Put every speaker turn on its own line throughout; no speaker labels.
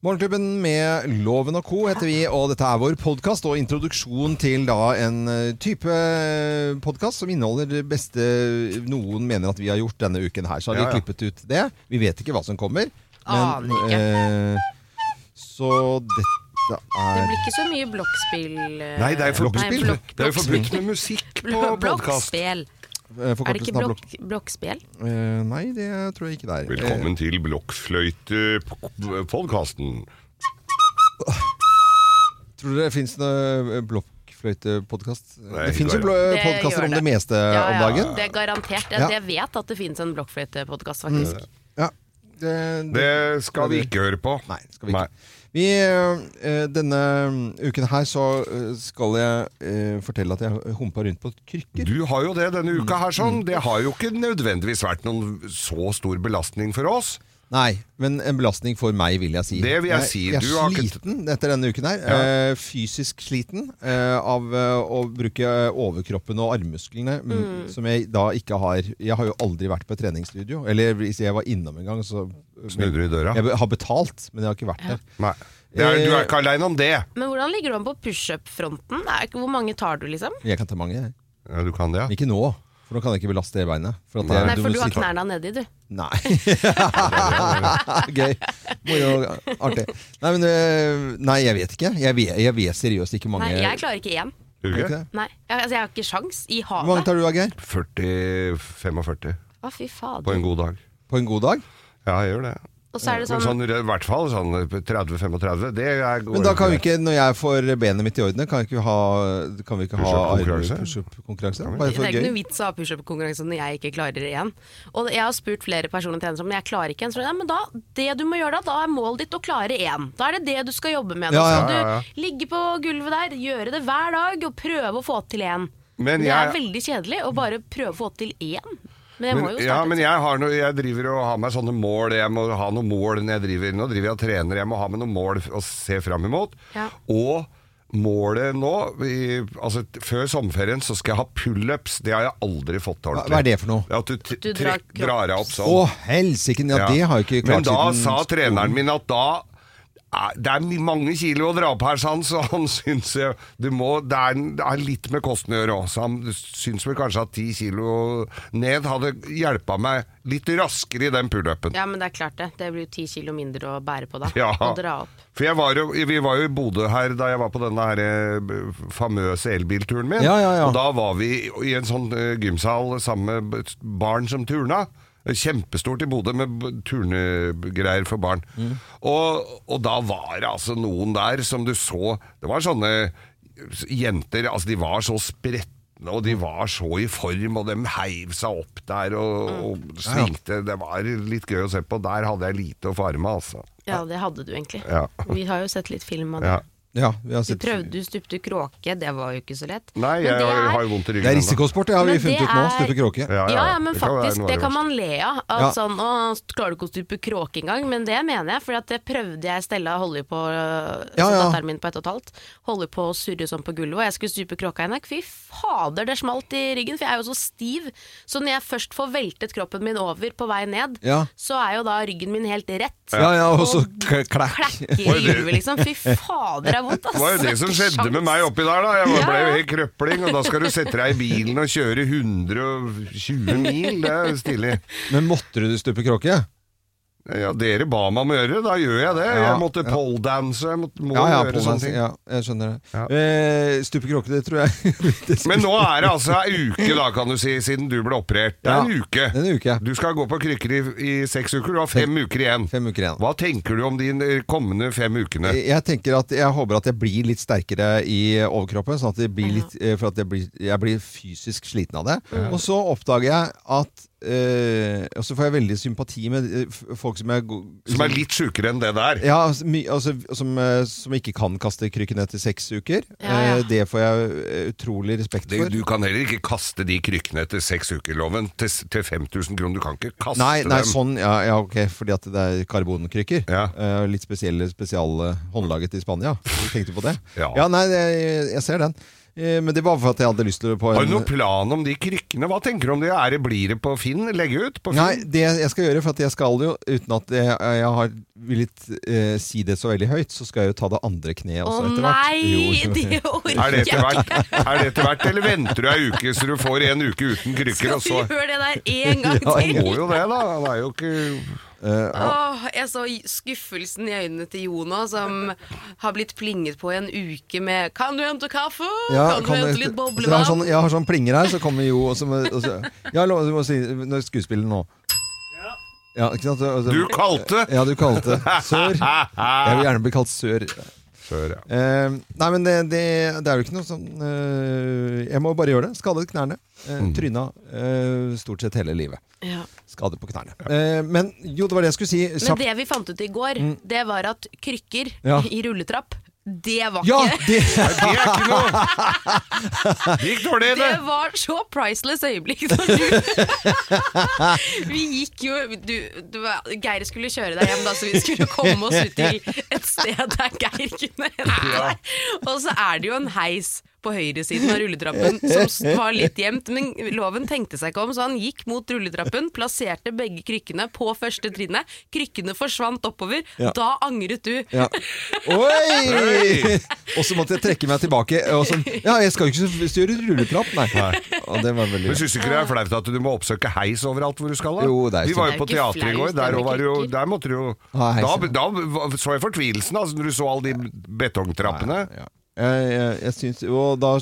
Morgenklubben med Loven og Co. heter vi, og dette er vår podkast og introduksjon til da en eh, type podkast som inneholder det beste noen mener at vi har gjort denne uken her. Så har
Ja,
de
ja.
klippet ut det. Vi vet ikke hva som kommer.
Aner ikke.
eh, så dette
Det
er
blir ikke så mye blokkspill. eh,
Nei, det er jo
Blokkspill?
forbudt.
Nei, blokk-
Det er jo forbudt med musikk på
blokk-
podkast.
Blokkspill.
eh,
Er det ikke
forkortelsen av blokk...
blokk, blokkspill?
Eh, nei, det tror jeg ikke det er.
Velkommen til Blokkfløytepodkasten.
Eh, tror dere det fins noe blokkfløytepodkast?
Nei,
Det fins jo
det
blå-
Det gjør
podkaster om det
det.
meste Eh, om dagen.
Det er garantert. Jeg,
Ja. Mm.
jeg vet at det finnes en blokkfløytepodkast, faktisk.
Ja, det-
Det skal vi ikke høre på.
Nei, skal vi ikke. Vi, eh, denne uken her så eh, skal jeg eh, fortelle at jeg humpa rundt på krykker.
Du har jo det denne uka her, sånn. Det har jo ikke nødvendigvis vært noen så stor belastning for oss.
Nei, men en belastning for meg, vil jeg si.
Det vil jeg si.
Jeg
Du
er
har ikke-
sliten etter denne uken her.
Ja.
Eh, fysisk sliten eh, av eh, å bruke overkroppen og armmusklene, mm. som jeg da ikke har Jeg har jo aldri vært på et treningsstudio. Eller hvis jeg var innom en gang, så
Snudde du i døra?
Jeg har betalt, men jeg har ikke vært der.
Nei. Det er, du er
Eh,
ikke aleine om det.
Men hvordan ligger du an på pushup-fronten? Er ikke- Hvor mange tar du, liksom?
Jeg kan ta mange, jeg.
Ja, du kan det,
Men
ja.
ikke nå. For nå kan jeg ikke belaste det beinet. For at
Nei.
jeg-
Nei, for
må
du har
sitte-
knærne nedi, du.
Nei. Gøy. Moro. Artig. Nei, men øh, Nei, jeg vet ikke. Jeg vet, jeg vet seriøst ikke mange
Nei, jeg klarer ikke én.
Gjør du
Vet du
ikke?
det?
Nei, jeg, altså, jeg har ikke sjans i
Hvor mange
havet.
tar du av, Geir?
40-45
Å, fy
på en
fader.
god dag.
På en god dag?
Ja, jeg gjør det.
Og så er det
Men
sånn
sånn, i hvert fall sånn 30-35, det er
Men da kan vi ikke, når jeg får benet mitt i orden, kan, vi ikke ha, kan vi ikke ha
Push-up-konkurranse?
pushup-konkurranse? Bare
Det
for
er ikke noe
gøy?
vits å ha pushup-konkurranse når jeg ikke klarer én. Og jeg har spurt flere personer til henne men jeg klarer ikke en. Så, ja, men da, det du må gjøre da, da er målet ditt å klare én. Da er det det du skal jobbe med. Da
Ja, ja,
skal
ja, ja.
du ligge på gulvet der, gjøre det hver dag og prøve å få til én.
Men
det er
jeg-
veldig kjedelig å bare prøve å få til én. Men jeg må
Men,
jo
ja,
starte.
men jeg, har noe, jeg driver og har meg sånne mål. Jeg må ha noen mål når jeg driver. Nå driver jeg og trener. Jeg må ha med noen mål å se fram imot.
Ja.
Og målet nå i, altså, t- Før sommerferien så skal jeg ha pullups. Det har jeg aldri fått til
Hva-
ordentlig.
hva er det for noe?
Ja, at du, t-
Du drar
trekk, drar deg opp sånn.
Å, helsike! Ja, det har jeg ikke klart
Men da
siden
sa treneren min at da er- det er mange kilo å dra opp her, sa han, så han syns jeg- du må, det, er, det er litt med kosten å gjøre òg. Så han syns vel kanskje at ti kilo ned hadde hjulpet meg litt raskere i den pullupen.
Ja, men det er klart det. Det blir jo ti kilo mindre å bære på da.
Ja.
Å dra opp.
For jeg var jo, vi var jo i Bodø her da jeg var på denne her eh, famøse elbilturen min.
Ja, ja, ja.
Og da var vi i en sånn eh, gymsal sammen med b- barn som turna. Kjempestort i Bodø med b- turnegreier for barn.
Mm.
Og, og da var det altså noen der som du så Det var sånne jenter Altså, de var så spretne. Og de var så i form, og de heiv seg opp der og,
Mm.
og svingte. Det var litt gøy å se på. Der hadde jeg lite å fare med, altså.
Ja, det hadde du egentlig.
Ja.
Vi har jo sett litt film av det.
Ja.
Ja, vi har
Du
sett
prøvde, du stupte kråke, det var jo ikke så lett.
Nei,
Men
jeg,
det
har-
er-
har jo vondt i ryggen. altså.
Det er
ennå.
risikosport, det har vi
Men
funnet
det
ut nå.
er-
Stupe kråke.
Ja, ja, men
det kan være
faktisk,
noe
det
av
kan
verste.
man le av. At
Ja.
sånn, å, klarer du ikke å stupe kråke engang? Men det mener jeg, for at det prøvde jeg Stella holder jo på, øh,
Ja,
altså
ja.
datteren min på ett og et halvt, holder på å surre sånn på gulvet, og jeg skulle stupe kråka henne. Fy fader, det smalt i ryggen, for jeg er jo så stiv. Så når jeg først får veltet kroppen min over på vei ned,
Ja.
så er jo da ryggen min helt rett.
Ja, ja, og så
Og
k- klakk.
Klakker i gulvet, liksom. Fy fader, det er vondt, ass.
Det var jo det som skjedde med meg oppi der, da. Jeg
Ja,
var- ble
ja.
jo helt krøpling, og da skal du sette deg i bilen og kjøre 120 mil. Det er stilig.
Men måtte du stupe kråke?
Ja, dere ba meg om å gjøre det, da gjør jeg det.
Ja,
Jeg måtte poledanse, jeg måtte, må
Ja, ja,
gjøre
på
sånne
meg.
ting.
Ja, jeg skjønner det.
Ja.
Eh, stupe kråke, det tror jeg. det
Men nå er det altså ei uke, da, kan du si, siden du ble operert. Det er en uke.
er en uke.
Du skal gå på krykker i, i seks uker. Du har fem uker igjen.
Fem uker igjen.
Hva tenker du om de eh, kommende fem ukene?
Jeg tenker at jeg håper at jeg blir litt sterkere i overkroppen, sånn at jeg blir, litt, eh, for at jeg blir, jeg blir fysisk sliten av det. Og så oppdager jeg at eh, Og så får jeg veldig sympati med eh, f- folk som er go-
Som er litt sjukere enn det der.
ja, altså, my, altså, som, eh, som ikke kan kaste krykken etter seks uker.
Ja, ja.
Eh, Det får jeg eh, utrolig respekt
Det-
for.
Du kan heller ikke kaste de krykkene etter seks uker-loven til, til 5000 kroner. Du kan ikke kaste
Nei, nei,
dem.
sånn, ja, ja ok, fordi at det er karbonkrykker.
Ja.
Eh, litt spesielle, spesiale håndlaget i Spania. Jeg tenkte på det.
Ja.
nei, det, jeg ser den. Eh, men det var for at jeg hadde lyst til å på
Har
en-
du noen plan om de krykkene? Hva tenker du om det? Er det blir det på Finn? Legge ut på Finn?
Nei, det jeg skal gjøre, for at jeg skal jo, uten at jeg, jeg har villet eh, si det så veldig høyt, så skal jeg jo ta det andre kneet
Å
også etter hvert.
nei,
Jo,
det orker
Er det
jeg
etter hvert? Er det etter hvert, eller venter du ei uke så du får en uke uten krykker, og så
Skal vi gjøre det der en gang
Ja,
til?
Må jo det, da. Han er jo ikke
Åh, jeg så skuffelsen i øynene til Jono, som har blitt plinget på i en uke med 'Kan du hente kaffe?
Ja,
kan du
kan
hente litt
jeg- så jeg, har sånn,
boblevann?'
jeg har sånn plinger her, så kommer jo og så, må- og så, Ja, lov, du må si nå er skuespiller nå. Ja, ikke sant? Og så-
Du kalte!
Ja, du kalte sør. Jeg vil gjerne bli kalt sør.
Før, ja.
Eh, nei, men det, det, det er jo ikke noe sånn eh, Jeg må bare gjøre det. Skadet knærne. Eh, tryna eh, stort sett hele livet.
Ja.
Skade på knærne. Eh, men jo, det var det jeg skulle si.
Men
Kjapt. Mm.
det vi fant ut i går, det var at krykker
Ja.
i rulletrapp, det var
Ja,
ikke
det,
Det er ikke noe Det gikk dårlig, det.
det var så priceless øyeblikk når du Vi gikk jo du, du, var- Geir skulle kjøre deg hjem, da, så vi skulle komme oss ut til et sted der Geir kunne hente deg. Og så er det jo en heis på høyresiden av rulletrappen som s- var litt gjemt, men loven tenkte seg ikke om, så han gikk mot rulletrappen, plasserte begge krykkene på første trinnet, krykkene forsvant oppover,
Ja.
da angret du.
ja. Oi! Og så måtte jeg trekke meg tilbake. Og så, ja, jeg skal jo ikke styre rulletrapp, nei. Og det var veldig
Men Syns du ikke det er flaut at du må oppsøke heis overalt hvor du skal? da?
Jo, det er
Vi var jo
kjempe-
på
Det er jo ikke
teateret i
flaut,
går. Der,
det med
var det jo,
krykker.
der måtte du jo
Ah, heis,
da,
ja.
da var- så jeg fortvilelsen altså, når du så alle de betongtrappene.
Ja. Jeg, jeg, jeg synes, og da,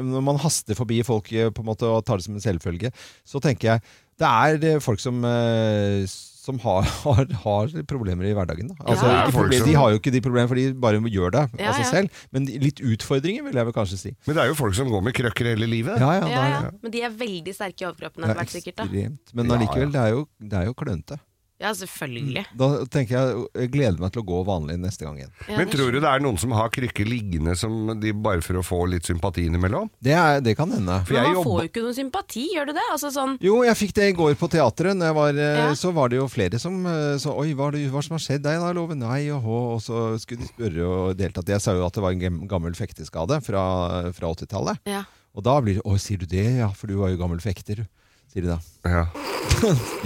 når man haster forbi folk eh, på en måte, og tar det som en selvfølge, så tenker jeg det er eh, folk som, eh, som har, har, har problemer i hverdagen. Da. Altså,
Ja.
Det
ikke
er folk
problem,
som-
de har jo ikke de problemene, for de bare gjør det
Ja,
av
ja.
seg selv. Men de- litt utfordringer, vil jeg vel kanskje si.
Men det er jo folk som går med krøkker hele livet.
Ja,
Ja,
ja, det er-
ja. Men de er veldig sterke i overkroppen, hadde vært sikkert da.
ekstremt. Men allikevel, det er jo, det er jo klønete.
Ja, selvfølgelig.
Da tenker jeg jeg gleder meg til å gå vanlig neste gang igjen.
Ja,
Men
det
tror du det er noen som har krykker liggende som de bare for å få litt sympati innimellom?
Det, er, det kan hende.
For
Men
jeg
man får
jobba
jo ikke noen sympati, gjør du det? Altså sånn
Jo, jeg fikk det i går på teatret. Når jeg var, eh,
Ja.
Så var det jo flere som eh, sa Oi, hva er det hva er det som har skjedd deg da, Loven? Nei, og, hå», og så skulle de spørre og deltatt. Jeg sa jo at det var en gem- gammel fekteskade fra, fra 80-tallet.
Ja.
Og da blir det Å, sier du det? Ja, for du var jo gammel fekter. Sier de da.
ja.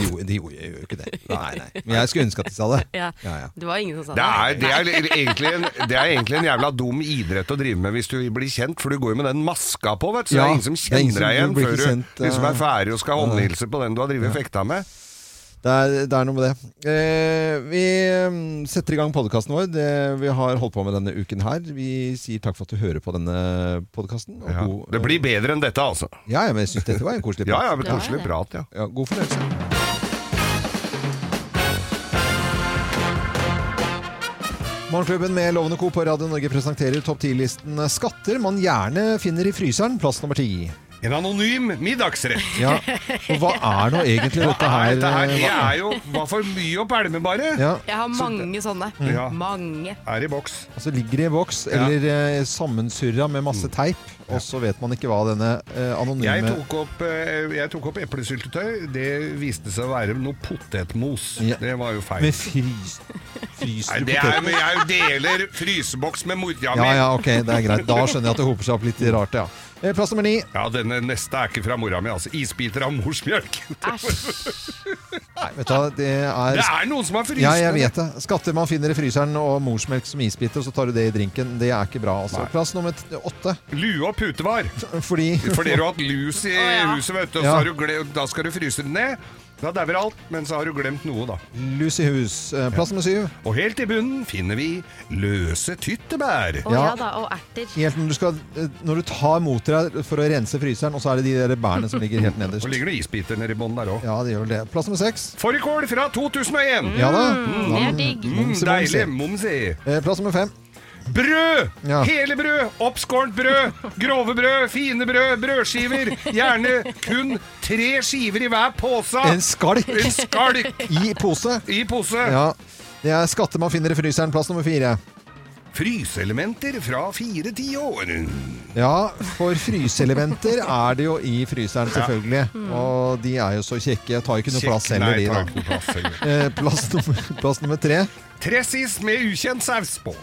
Jo, de gjorde jeg gjør jo ikke det. Nei, nei. Men jeg skulle ønske at de sa det.
ja.
Ja, ja.
Det var ingen som sa
Det er, det, er egentlig en, det er egentlig en jævla dum idrett å drive med hvis du blir kjent, for du går jo med den maska på, vet du. Så
Ja,
det er ingen som
det er
kjenner
ingen som-
deg igjen
du blir
før
ikke
du
kjent, eh,
liksom
ja.
er ferdig og skal håndhilse på den du har drevet fekta med.
Det er, det er noe med det. Eh, vi mm, setter i gang podkasten vår. Det vi har holdt på med denne uken her. Vi sier takk for at du hører på denne podkasten.
Ja. Det blir bedre enn dette, altså.
Ja, ja, men jeg syns dette var en koselig
Ja,
prat.
ja, men koselig
det.
prat, ja.
Ja, god fornøyelse. Morgenklubben med Lovende Co. på Radio Norge presenterer topp 10-listen skatter man gjerne finner i fryseren, plass nummer ti.
En anonym middagsrett.
Ja. Og hva er nå egentlig dette
Nei,
her?
dette her eh, det
hva-
er jo var for mye å pælme, bare.
ja.
Jeg har mange sånne.
Mm. Ja.
Mange.
Er i boks.
Altså ligger det i boks
Ja. Mm.
eller eh, sammensurra med masse teip, og så vet man ikke hva denne eh, anonyme
Jeg tok opp, eh, jeg tok opp eplesyltetøy. Det viste seg å være noe potetmos.
Ja.
Det var jo feil.
Med frys...
Nei,
Fryser du
det er,
poteter?
men jeg deler fryseboks med mora mi.
Ja, ja, ok, det er greit. Da skjønner jeg at det hoper seg opp litt rart, ja. Eh, Plass nummer ni.
Ja, denne neste er ikke fra mora mi, altså. Isbiter av morsmjølk.
Nei, vet du, hva, det er
Det er noen som har frysende.
Ja, jeg vet det. Skatter man finner i fryseren og morsmelk som isbiter, og så tar du det i drinken. Det er ikke bra, altså.
Nei.
Plass nummer t- åtte.
Lue og putevar.
Fordi
Fordi du har hatt lus i huset, vet du, og så
Ja.
har du gle- da skal du fryse den ned. Da dauer alt, men så har du glemt noe, da.
Lus i hus. Eh, Plass nummer syv.
Og helt i bunnen finner vi løse tyttebær.
Å ja.
Ja.
da, og erter.
Helt når du, skal, eh, når du tar mot deg for å rense fryseren, og så er det de der bærene som ligger helt nederst.
Så ligger det isbiter nede i bånn der òg.
Ja, det gjør vel det. Plass nummer seks.
Fårikål fra 2001.
Ja da.
det er
Mm,
digg.
Momsi, momsi.
Deilig. Momsi.
Eh, Plass nummer fem.
Brød!
Ja.
Hele brød, oppskårent brød, grove brød, fine brød, brødskiver. Gjerne kun tre skiver i hver pose.
En skalk
Ah. En skalk
i pose.
i pose.
Ja. Det er skatter man finner i fryseren. Plass nummer fire.
Fryseelementer fra fire tiår.
Ja, for fryseelementer er det jo i fryseren, selvfølgelig. Og de er jo så kjekke. Jeg tar jo ikke noe plass
Kjekk-
heller,
Nei,
de,
tar
da.
ikke noe plass heller.
Eh, Plass nummer, plass nummer tre.
Tressis med ukjent saus på.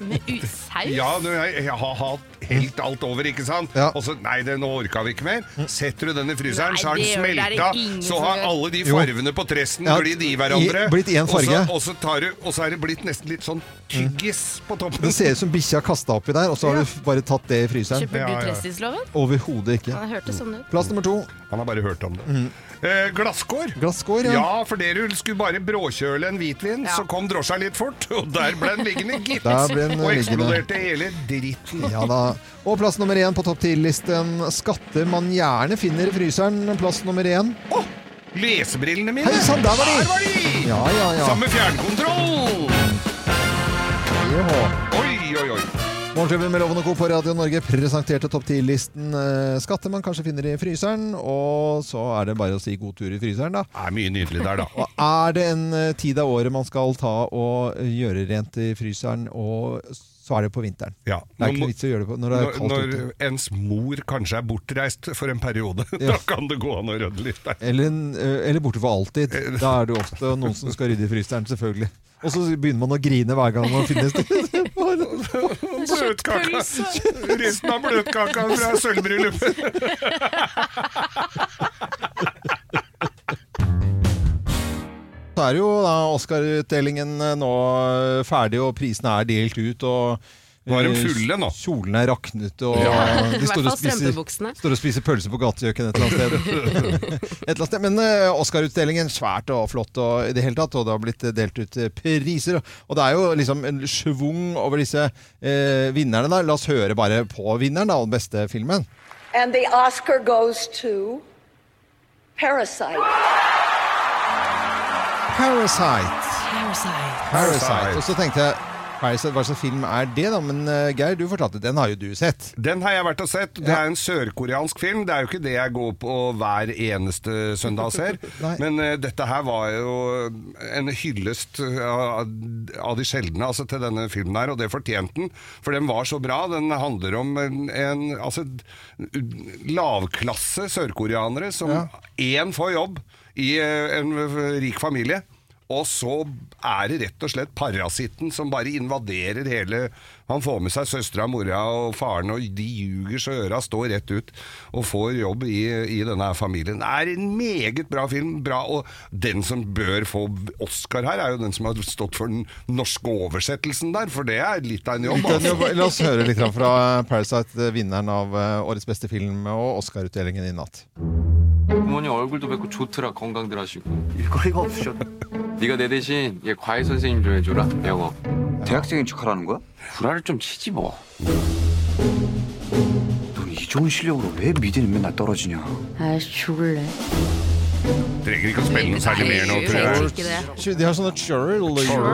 Med u- saus?
Ja, du, jeg, jeg har hatt helt alt over, ikke sant?
Ja. Mm.
Og så, nei, det, nå orka vi ikke mer. Setter du den i fryseren,
Nei,
så har den
det gjør- det er det
smelta.
ingen
Så
som
har
gjør.
alle de
Jo.
farvene på tressen
Ja,
glidd i hverandre.
i- blitt én
Og så-
farge.
Og så, tar du, og så er det blitt nesten litt sånn tyggis på toppen.
Det Mm. ser ut som bikkja kasta oppi der, og så har du bare tatt det i fryseren.
Kjøper
Ja, ja.
du Trestisloven?
Overhodet ikke.
Det hørtes sånn ut.
Plass nummer to.
Han har bare hørt om det. Eh, glasskår.
Mm. Glasskår, ja.
Ja, for dere skulle bare bråkjøle en hvitvin, så kom drosja litt fort, og der ble den liggende, gitt.
Der ble den
og
liggende.
eksploderte hele dritten.
Ja da. Og plass nummer én på topp ti-listen. Skatter man gjerne finner i fryseren. Plass nummer én.
Åh, lesebrillene mine!
Hei sann, der var de!
Der var de!
Ja, ja, ja.
Samme fjernkontroll!
Jehå.
Oi, oi, oi.
Morgenklubben med Loven og Co. på Radio Norge presenterte topp 10-listen eh, skatter man kanskje finner i fryseren, og så er det bare å si god tur i fryseren, da.
Det er mye nydelig der, da.
Og er det en eh, tid av året man skal ta og eh, gjøre rent i fryseren, og så er det på vinteren.
Ja.
Det er
Når-
ikke vits å gjøre det på når det er
Når,
kaldt
når
ute.
ens mor kanskje er bortreist for en periode, da kan det gå an å rydde litt der.
Eller, en- eh, eller borte for alltid.
Eh,
Da er det jo ofte noen som skal rydde i fryseren, selvfølgelig. Og så begynner man å grine hver gang man finner sted.
Bløtkaka! Resten av bløtkaka fra sølvbryllupet.
Så er jo da Oscar-utdelingen eh, nå eh, ferdig, og prisene er delt ut. og
Nå er de
eh,
fulle nå.
Kjolene er raknet, og de
I hvert
står og,
fall
spiser,
strømpebuksene.
står og spiser pølse på gatekjøkken et eller annet sted. et eller annet sted. Men eh, Oscar-utdelingen, svært og flott og i det hele tatt, og det har blitt eh, delt ut eh, priser. Og det er jo liksom en schwung over disse eh, vinnerne. da. La oss høre bare på vinneren, da, og den beste filmen.
And the Oscar goes to Parasite.
Parasite.
Parasite.
Parasite. Og så tenkte jeg Parasite, hva slags film er det, da? Men eh, Geir, du fortalte, den har jo du sett.
Den har jeg vært og sett. Det er en sørkoreansk film. Det er jo ikke det jeg går på hver eneste søndag og ser.
Nei.
Men eh, dette her var jo en hyllest eh, av, av de sjeldne altså, til denne filmen her, og det fortjente den. For den var så bra. Den handler om en, en altså, lavklasse sørkoreanere som én får jobb i eh, en rik familie. Og så er det rett og slett parasitten som bare invaderer hele Han får med seg søstera, mora og faren, og de ljuger så øra står rett ut, og får jobb i, i denne her familien. Det er en meget bra film. Bra, og den som bør få Oscar her, er jo den som har stått for den norske oversettelsen der, for det er litt av en jobb.
Den,
Altså.
jo, la oss høre litt grann fra Parasite, eh, vinneren av eh, årets beste film og Oscar-utdelingen i natt.
부모님 얼굴도 뵙고 좋더라 건강들 하시고 일거리가 없으셔 네가 내 대신 얘 과외 선생님 좀 해줘라 영어
대학생인 척하라는 거야?
불화를 좀 치지 뭐
넌 이 좋은 실력으로 왜 미대는 맨날 떨어지냐?
Jeg er sjuler.
Det trenger ikke å spille noe særlig mer nå, tror jeg.
Tj- De har sånne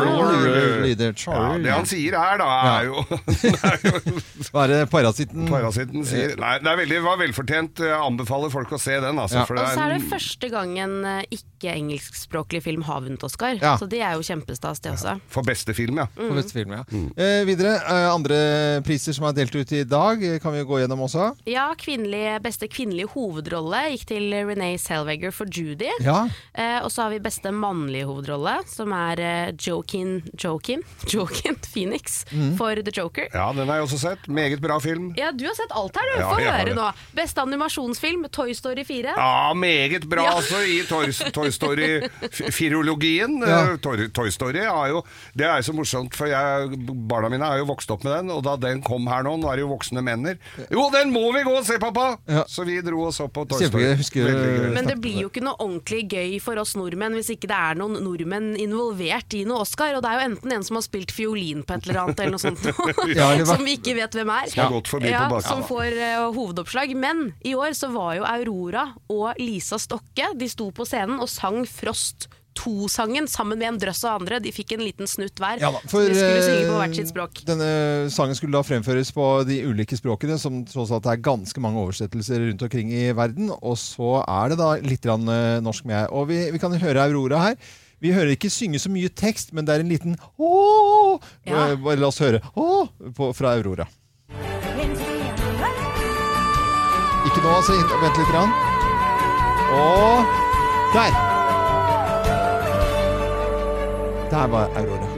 churl-lyder.
Ja, det han sier her, da, er jo
Hva er det parasitten?
Parasitten sier Nei, det er veldig, var velfortjent. Jeg anbefaler folk å se den, altså.
Ja.
For
Og
det
så er
er
det første gang en eh, ikke-engelskspråklig film har vunnet Oscar,
Ja.
så det er jo kjempestas, det også.
for beste film, ja.
Mm.
For beste film, ja.
Mm.
Eh, videre, eh, andre priser som er delt ut i dag, eh, kan vi gå gjennom også.
Ja, kvinnelig, Beste kvinnelige hovedrolle gikk til Renee Selvager for Judy.
Ja.
Eh, og så har vi beste mannlige hovedrolle, som er eh, Joaquin, Joaquin, Joaquin Phoenix
Mm.
for The Joker.
Ja, den har jeg også sett. Meget bra film.
Ja, du har sett alt her, du.
Ja,
Få
jeg har
høre
det.
nå. Beste animasjonsfilm, Toy Story 4.
Ja, meget bra,
Ja.
altså, i Toy, Toy Story-firologien.
Ja.
Eh, Toy, Toy Story er jo Det er jo så morsomt, for jeg, barna mine er jo vokst opp med den, og da den kom her nå, nå er det jo voksne menner. Jo, den må vi gå og se, pappa! Så vi dro og så på Toy
Kjempegøy,
Story.
jeg husker-
Veldig gøy.
Men det blir jo ikke noe ordentlig gøy for oss nordmenn hvis ikke det er noen nordmenn involvert i noe Oscar. Og det er jo enten en som har spilt fiolin på et eller annet, eller noe sånt noe,
Ja, eller hva-
som vi ikke vet hvem er.
Som har gått forbi på
ja,
baksiden.
som får eh, hovedoppslag. Men i år så var jo Aurora og Lisa Stokke De sto på scenen og sang Frost 2-sangen sammen med en drøss av andre. De fikk en liten snutt hver.
Ja da,
så de skulle synge på
eh,
hvert sitt språk.
Denne sangen skulle da fremføres på de ulike språkene, som tross alt er ganske mange oversettelser rundt omkring i verden. Og så er det da litt grann, eh, norsk med. Og vi, vi kan høre Aurora her. Vi hører ikke synge så mye tekst, men det er en liten ååå.
Ja.
Eh, Bare la oss høre ååå på- fra Aurora. Ikke nå, altså. Vent litt. Grann. Og der! Der var Aurora.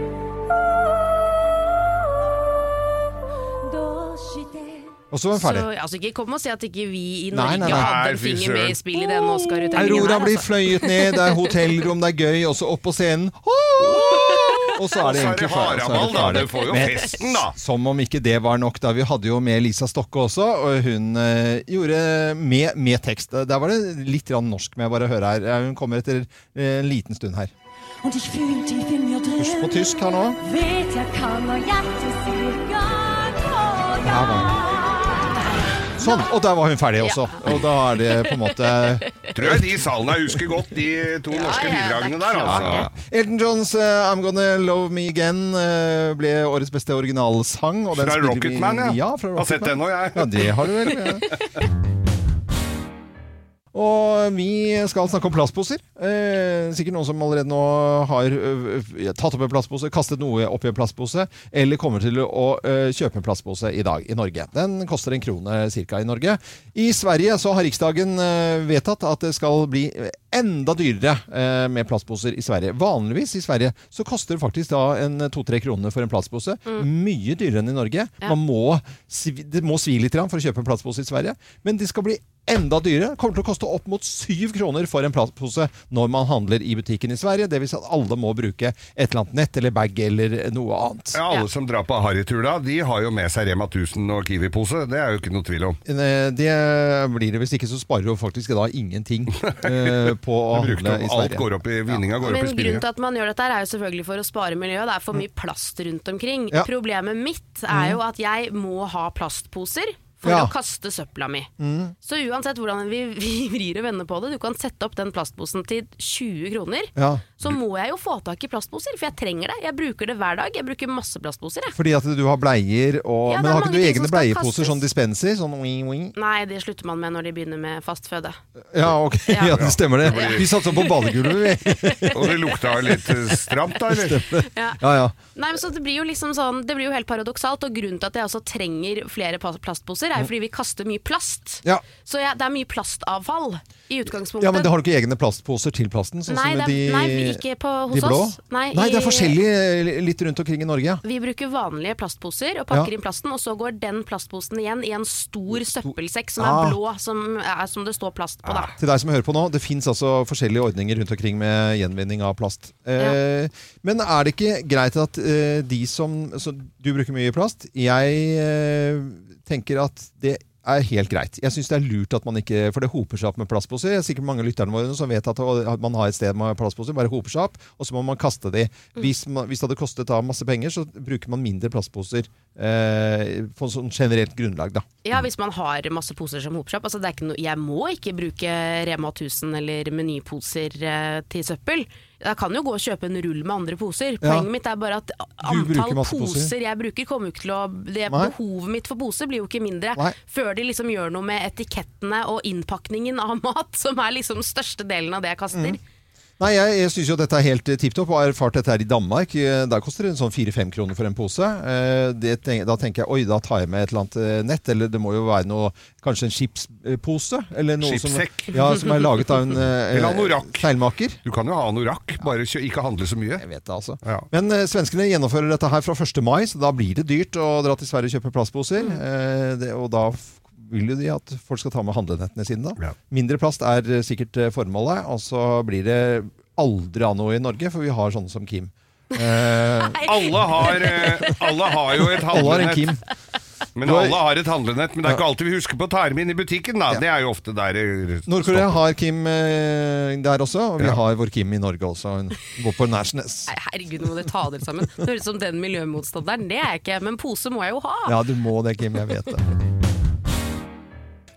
Og så var den ferdig.
Så, altså, ikke kom og si at ikke vi i
Nei,
Norge
nei, nei.
hadde
Nei,
en
fy
finger
søren.
med i spillet i den Oscar-utdelingen.
Aurora
her,
blir
altså.
fløyet ned, det er hotellrom, det er gøy, og så opp på scenen. Og så er det egentlig ferdig, så er
haraball,
det
da.
ferdig.
Du får jo
Men
festen, da.
Som om ikke det var nok, da. Vi hadde jo med Lisa Stokke også, og hun eh, gjorde med, med tekst. Der var det litt grann norsk med, bare høre her. Eh, Hun kommer etter eh, en liten stund her.
Und ich fühlte, wie mir
Husk på tysk her nå.
Vet jeg kan, og hjertet sier gang og
Der var hun. Sånn, og der var hun ferdig også. Og da er det på en måte
Tror jeg de i salen her husker godt de to norske bidragene der, altså.
Elton Johns eh, 'I'm Gonna Love Me Again' eh, ble årets beste originalsang. Og den
Fra
spiller vi-
Rocket Man, ja.
ja fra
Har
Rocket
sett
Man.
den nå, jeg.
Ja, det har du vel. Ja. Og vi skal snakke om plastposer. Eh, sikkert noen som allerede nå har ø, ø, tatt opp en plastpose, kastet noe oppi en plastpose, eller kommer til å ø, kjøpe en plastpose i dag i Norge. Den koster en krone cirka i Norge. I Sverige så har Riksdagen ø, vedtatt at det skal bli eh, enda dyrere ø, med plastposer i Sverige. Vanligvis i Sverige så koster det faktisk da en to-tre kroner for en plastpose. Mye dyrere enn i Norge. Man må, svi- det må svi litt grann for å kjøpe en plastpose i Sverige, men de skal bli enda dyre. Kommer til å koste opp mot syv kroner for en plastpose når man handler i butikken i Sverige. Det vil si at alle må bruke et eller annet nett eller bag eller noe annet.
Ja, alle som drar på harrytur da, de har jo med seg Rema 1000 og Kiwi-pose. Det er jo ikke noe tvil om.
Eh, Det blir det hvis ikke, så sparer du faktisk da ingenting eh, på å
Du brukte
handle i
opp- alt
Sverige.
går opp i- vinninga går
Men grunnen til at man gjør dette her er jo selvfølgelig for å spare miljøet. Det er for mye plast rundt omkring.
Ja.
Problemet mitt
Mm.
er jo at jeg må ha plastposer for
Ja.
å kaste søpla mi.
Mm.
Så uansett hvordan vi, vi vrir og vender på det, du kan sette opp den plastposen til 20 kroner.
Ja.
Så må jeg jo få tak i plastposer, for jeg trenger det. Jeg bruker det hver dag. Jeg bruker masse plastposer. Jeg.
Fordi at du har bleier og
Ja, det er
Men
mange
har ikke
ting som
du egne
skal
bleieposer,
kastes.
sånn dispenser? Sånn wing, wing?
Nei, det slutter man med når de begynner med fastføde.
Ja, ok. Ja, det stemmer det.
Ja.
Vi satser på badegulvet, vi.
Og det lukta litt eh, stramt da, eller?
Stemmer.
Ja.
Ja, ja.
Nei, men så det blir jo liksom sånn Det blir jo helt paradoksalt, og grunnen til at jeg også trenger flere pa- plastposer, er jo fordi vi kaster mye plast.
Mm. Ja.
Så jeg, det er mye plastavfall i utgangspunktet.
Ja, men det har du ikke egne plastposer til plasten? Sånn
Nei,
som
det
de,
er- nei, vi- ikke på- hos
de blå?
oss. Nei,
det er
i-
forskjellig eh, litt rundt omkring i Norge. Ja.
Vi bruker vanlige plastposer og pakker
Ja.
inn plasten, og så går den plastposen igjen i en stor søppelsekk som
Ah.
er blå, som, er, som det står plast på, da.
Til deg som hører på nå, det fins altså forskjellige ordninger rundt omkring med gjenvinning av plast. Eh, Men er det ikke greit at eh, de som så Du bruker mye plast. Jeg eh, tenker at det er helt greit. Jeg syns det er lurt at man ikke For det hoper seg opp med plastposer. Det er sikkert mange av lytterne våre som vet at at man har et sted med plastposer, bare hoper seg opp, og så må man kaste de.
Mm.
Hvis, man, hvis det hadde kostet da masse penger, så bruker man mindre plastposer eh, på sånn generelt grunnlag, da.
Ja, hvis man har masse poser som hoper seg opp. Altså, det er ikke noe- jeg må ikke bruke Rema 1000 eller menyposer eh, til søppel. Jeg kan jo gå og kjøpe en rull med andre poser.
Ja.
Poenget mitt er bare at
bruker
antall
masse
poser.
poser.
jeg bruker, kommer jo ikke til å det,
Nei.
Behovet mitt for poser blir jo ikke mindre
Nei.
før de liksom gjør noe med etikettene og innpakningen av mat, som er liksom største delen av det jeg
Mm.
kaster.
Nei, jeg, jeg syns jo dette er helt eh, tipp topp, og har erfart dette her i Danmark. Eh, Der koster det en sånn fire-fem kroner for en pose. Eh, Det, tenk- da tenker jeg oi, da tar jeg med et eller annet eh, nett, eller det må jo være noe Kanskje en chipspose? Eller noe
Chipsekk.
Som, ja, som er laget av en eh,
Eller anorakk.
Feilmaker.
Du kan jo ha anorakk, bare kjø- ikke handle så mye. Jeg
vet det, altså. Men eh, svenskene gjennomfører dette her fra 1. mai, så da blir det dyrt å dra til Sverige og kjøpe plastposer. Eh, det, og da f- vil jo de at folk skal ta med handlenettene sine, da. Mindre plast er eh, sikkert eh, formålet, og så blir det aldri av noe i Norge, for vi har sånne som Kim. Eh,
Alle har, eh, alle har jo et
Alle har en Kim.
handlenett. Men
Du har-
alle har et handlenett, men det er ikke alltid vi husker på å ta dem inn i butikken. Da. Det er jo ofte der eh, det
Nord-Korea har Kim eh, der også, og vi
Ja.
har vår Kim i Norge også. Hun går på Nærsnes.
Nei, herregud, nå må dere ta dere sammen. Det høres ut som den miljømotstanderen. Det er jeg ikke, men pose må jeg jo ha.
Ja, du må det, Kim. Jeg vet det.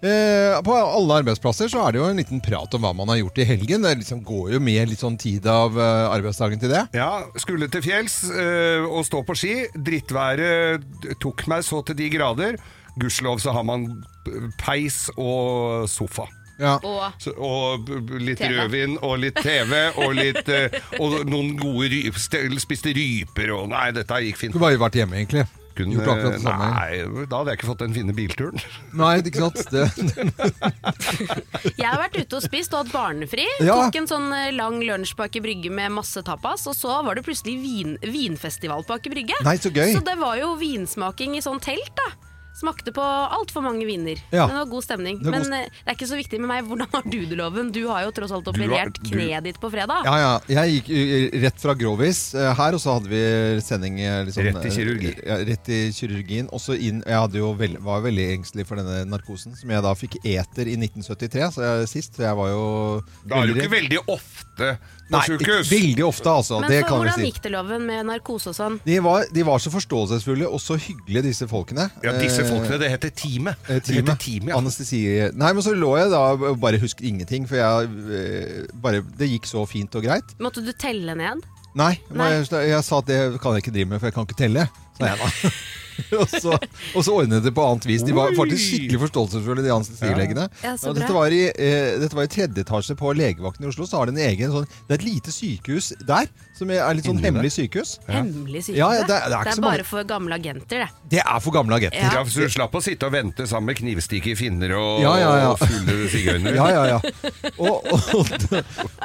Eh, på alle arbeidsplasser så er det jo en liten prat om hva man har gjort i helgen. Det liksom går jo med litt sånn tid av eh, arbeidsdagen til det.
Ja, skulle til fjells eh, og stå på ski. Drittværet tok meg så til de grader. Gudskjelov så har man peis og sofa.
Og-
Så, og b- b- litt
TV.
rødvin og litt TV og, litt, eh, og noen gode ry stel- spiste ryper og Nei, dette gikk fint.
Skulle bare vært hjemme, egentlig.
Kunne,
Gjort akkurat det samme.
eh, Nei, da hadde jeg ikke fått den fine bilturen.
Nei, ikke sant? Det,
Jeg har vært ute og spist og hatt barnefri.
Ja.
Tok en sånn eh, lang lunsj på Aker Brygge med masse tapas, og så var det plutselig vin, vinfestival på Aker Brygge.
Nei, så gøy.
det var jo vinsmaking i sånn telt, da. Smakte på altfor mange viner.
Ja.
Men det var god stemning.
Det var god
Men eh, det er ikke så viktig med meg. Hvordan har du det, Loven? Du har jo tross alt
Du har-
operert
du-
kneet ditt på fredag.
ja, ja. Jeg gikk eh, rett fra Grovis eh, her, og så hadde vi sending eh, liksom,
Rett i kirurgi.
eh, Ja, rett i kirurgien. Og så inn Jeg hadde jo vel, var jo veldig engstelig for denne narkosen, som jeg da fikk eter i 1973, så jeg, sist. Så jeg var jo
Da er du
veldig
ikke
redd.
veldig ofte på
Nei, ikke
sjukehus.
veldig ofte, altså.
Men
det
for,
kan vi
hvordan
si.
gikk det, Loven, med narkose og sånn?
De var, de var så forståelsesfulle og så hyggelige, disse folkene.
Ja, disse
Eh,
folkene, det heter teamet.
eh,
Det heter
teamet. Anestesi Nei, men så lå jeg da og bare husket ingenting, for jeg eh, bare Det gikk så fint og greit.
Måtte du telle ned?
Nei,
Nei.
Jeg, jeg sa at det kan jeg ikke drive med, for jeg kan ikke telle. Sa jeg da. og, så, og så ordnet det på annet vis. De var
Oi.
faktisk skikkelig forståelsesfulle, de anestesilegene.
Ja, så
Og
bra.
dette, var i, eh, dette var i tredje etasje på legevakten i Oslo. Så har de en egen sånn Det er et lite sykehus der, som er litt sånn
Inni der.
hemmelig sykehus.
Hemmelig sykehus?
Ja, ja,
det, er,
ikke så mange-
bare for gamle agenter, det.
Det er for gamle agenter.
Ja. så du slapp å sitte og vente sammen med knivstikke i finner og,
Ja, ja, ja.
og fulle sigøynere?
Ja, ja, ja. Og, og,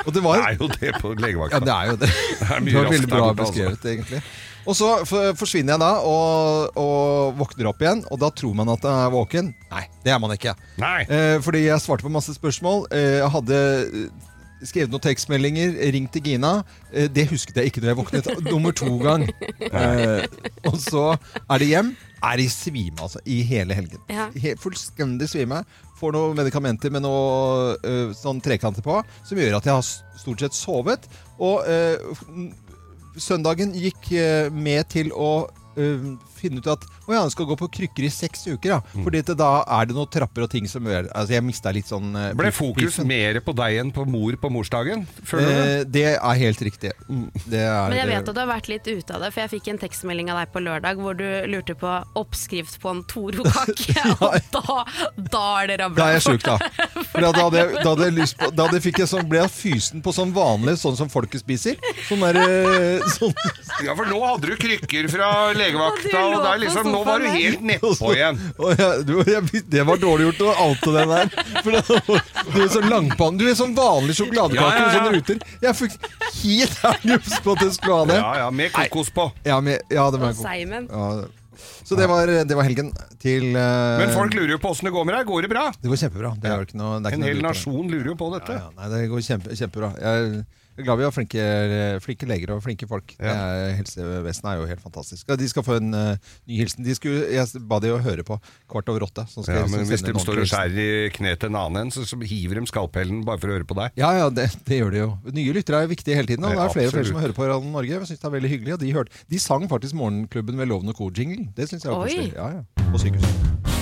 og det var
Det er jo det på legevakta.
Ja, det er jo det.
Det er
Det
mye
var
raskt
veldig
der
bra
borte, altså.
beskrevet, egentlig. Og så f- forsvinner jeg da, og, og våkner opp igjen, og da tror man at jeg er våken. Nei, det er man ikke. Eh, fordi jeg svarte på masse spørsmål. Eh, jeg hadde eh, skrevet noen tekstmeldinger, ringt til Gina. Eh, det husket jeg ikke da jeg våknet. Nummer to gang. Eh, og så er det hjem. Er i svime, altså. I hele helgen.
Ja.
He fullstendig svime. Får noen medikamenter med noe øh, sånn trekanter på, som gjør at jeg har s- stort sett sovet. Og øh, f- n- søndagen gikk øh, med til å øh, finne ut at å ja, jeg skal gå på krykker i seks uker. Ja.
Mm.
Fordi at da er det noen trapper og ting som gjør Altså, jeg mista litt sånn øh,
Ble
pif-
fokus
pifen.
mer på deg enn på mor på morsdagen?
Eh,
Føler du det?
det er helt riktig. Mm, Det er, eh,
Men jeg vet at du har vært litt ute av det, for jeg fikk en tekstmelding av deg på lørdag hvor du lurte på oppskrift på en Toro-kake, og da, da er det rabla.
Da er jeg sjuk, da. For da, hadde jeg, da, hadde jeg lyst på, da hadde jeg fikk jeg sånn, ble jeg fysen på sånn vanlig, sånn som folket spiser. Sånn der, eh, sånn,
Ja, for nå hadde du krykker fra legevakta, og det er liksom, nå var du helt nedpå
Og så-
igjen.
og jeg, du, jeg, det var dårlig gjort å oute den der. For det, var- du er sånn langpanne Du er sånn vanlig sjokoladekake
Ja, ja, ja.
med sånne ruter. Jeg fikk helt ærlig på at jeg skulle ha det.
Ja, ja, med kokos på.
Ja, men, ja, det var
Og seimen.
Ja, Så det var, det var helgen til eh,
Men folk lurer jo på åssen det går med deg. Går det bra?
Det går kjempebra. Det er jo ikke noe, det
En
er ikke noe
hel
lurt.
nasjon lurer jo på dette.
Ja, nei, det går kjempe, kjempebra. Jeg er glad vi har flinke, flinke leger og flinke folk. Det er, helsevesenet er jo helt fantastisk. Ja, De skal få en eh, ny hilsen. De skulle, jeg ba de å høre på kvart over åtte. så skal
Ja,
jeg
men
liksom
Hvis
sende
de
en
står og
ordentlig hilsen.
skjærer i kneet til en annen en, så, så hiver de skalpellen bare for å høre på deg.
Ja, ja, det, det gjør det jo. Nye lyttere er viktige hele tiden. Og det
Ja,
er flere og flere
absolutt.
som hører på Radio Norge. Jeg synes det er veldig hyggelig. Og de, hørte, de sang faktisk Morgenklubben ved Loven og Co-jingle. Det syns jeg var
Oi.
koselig. Ja, ja. På sykehuset.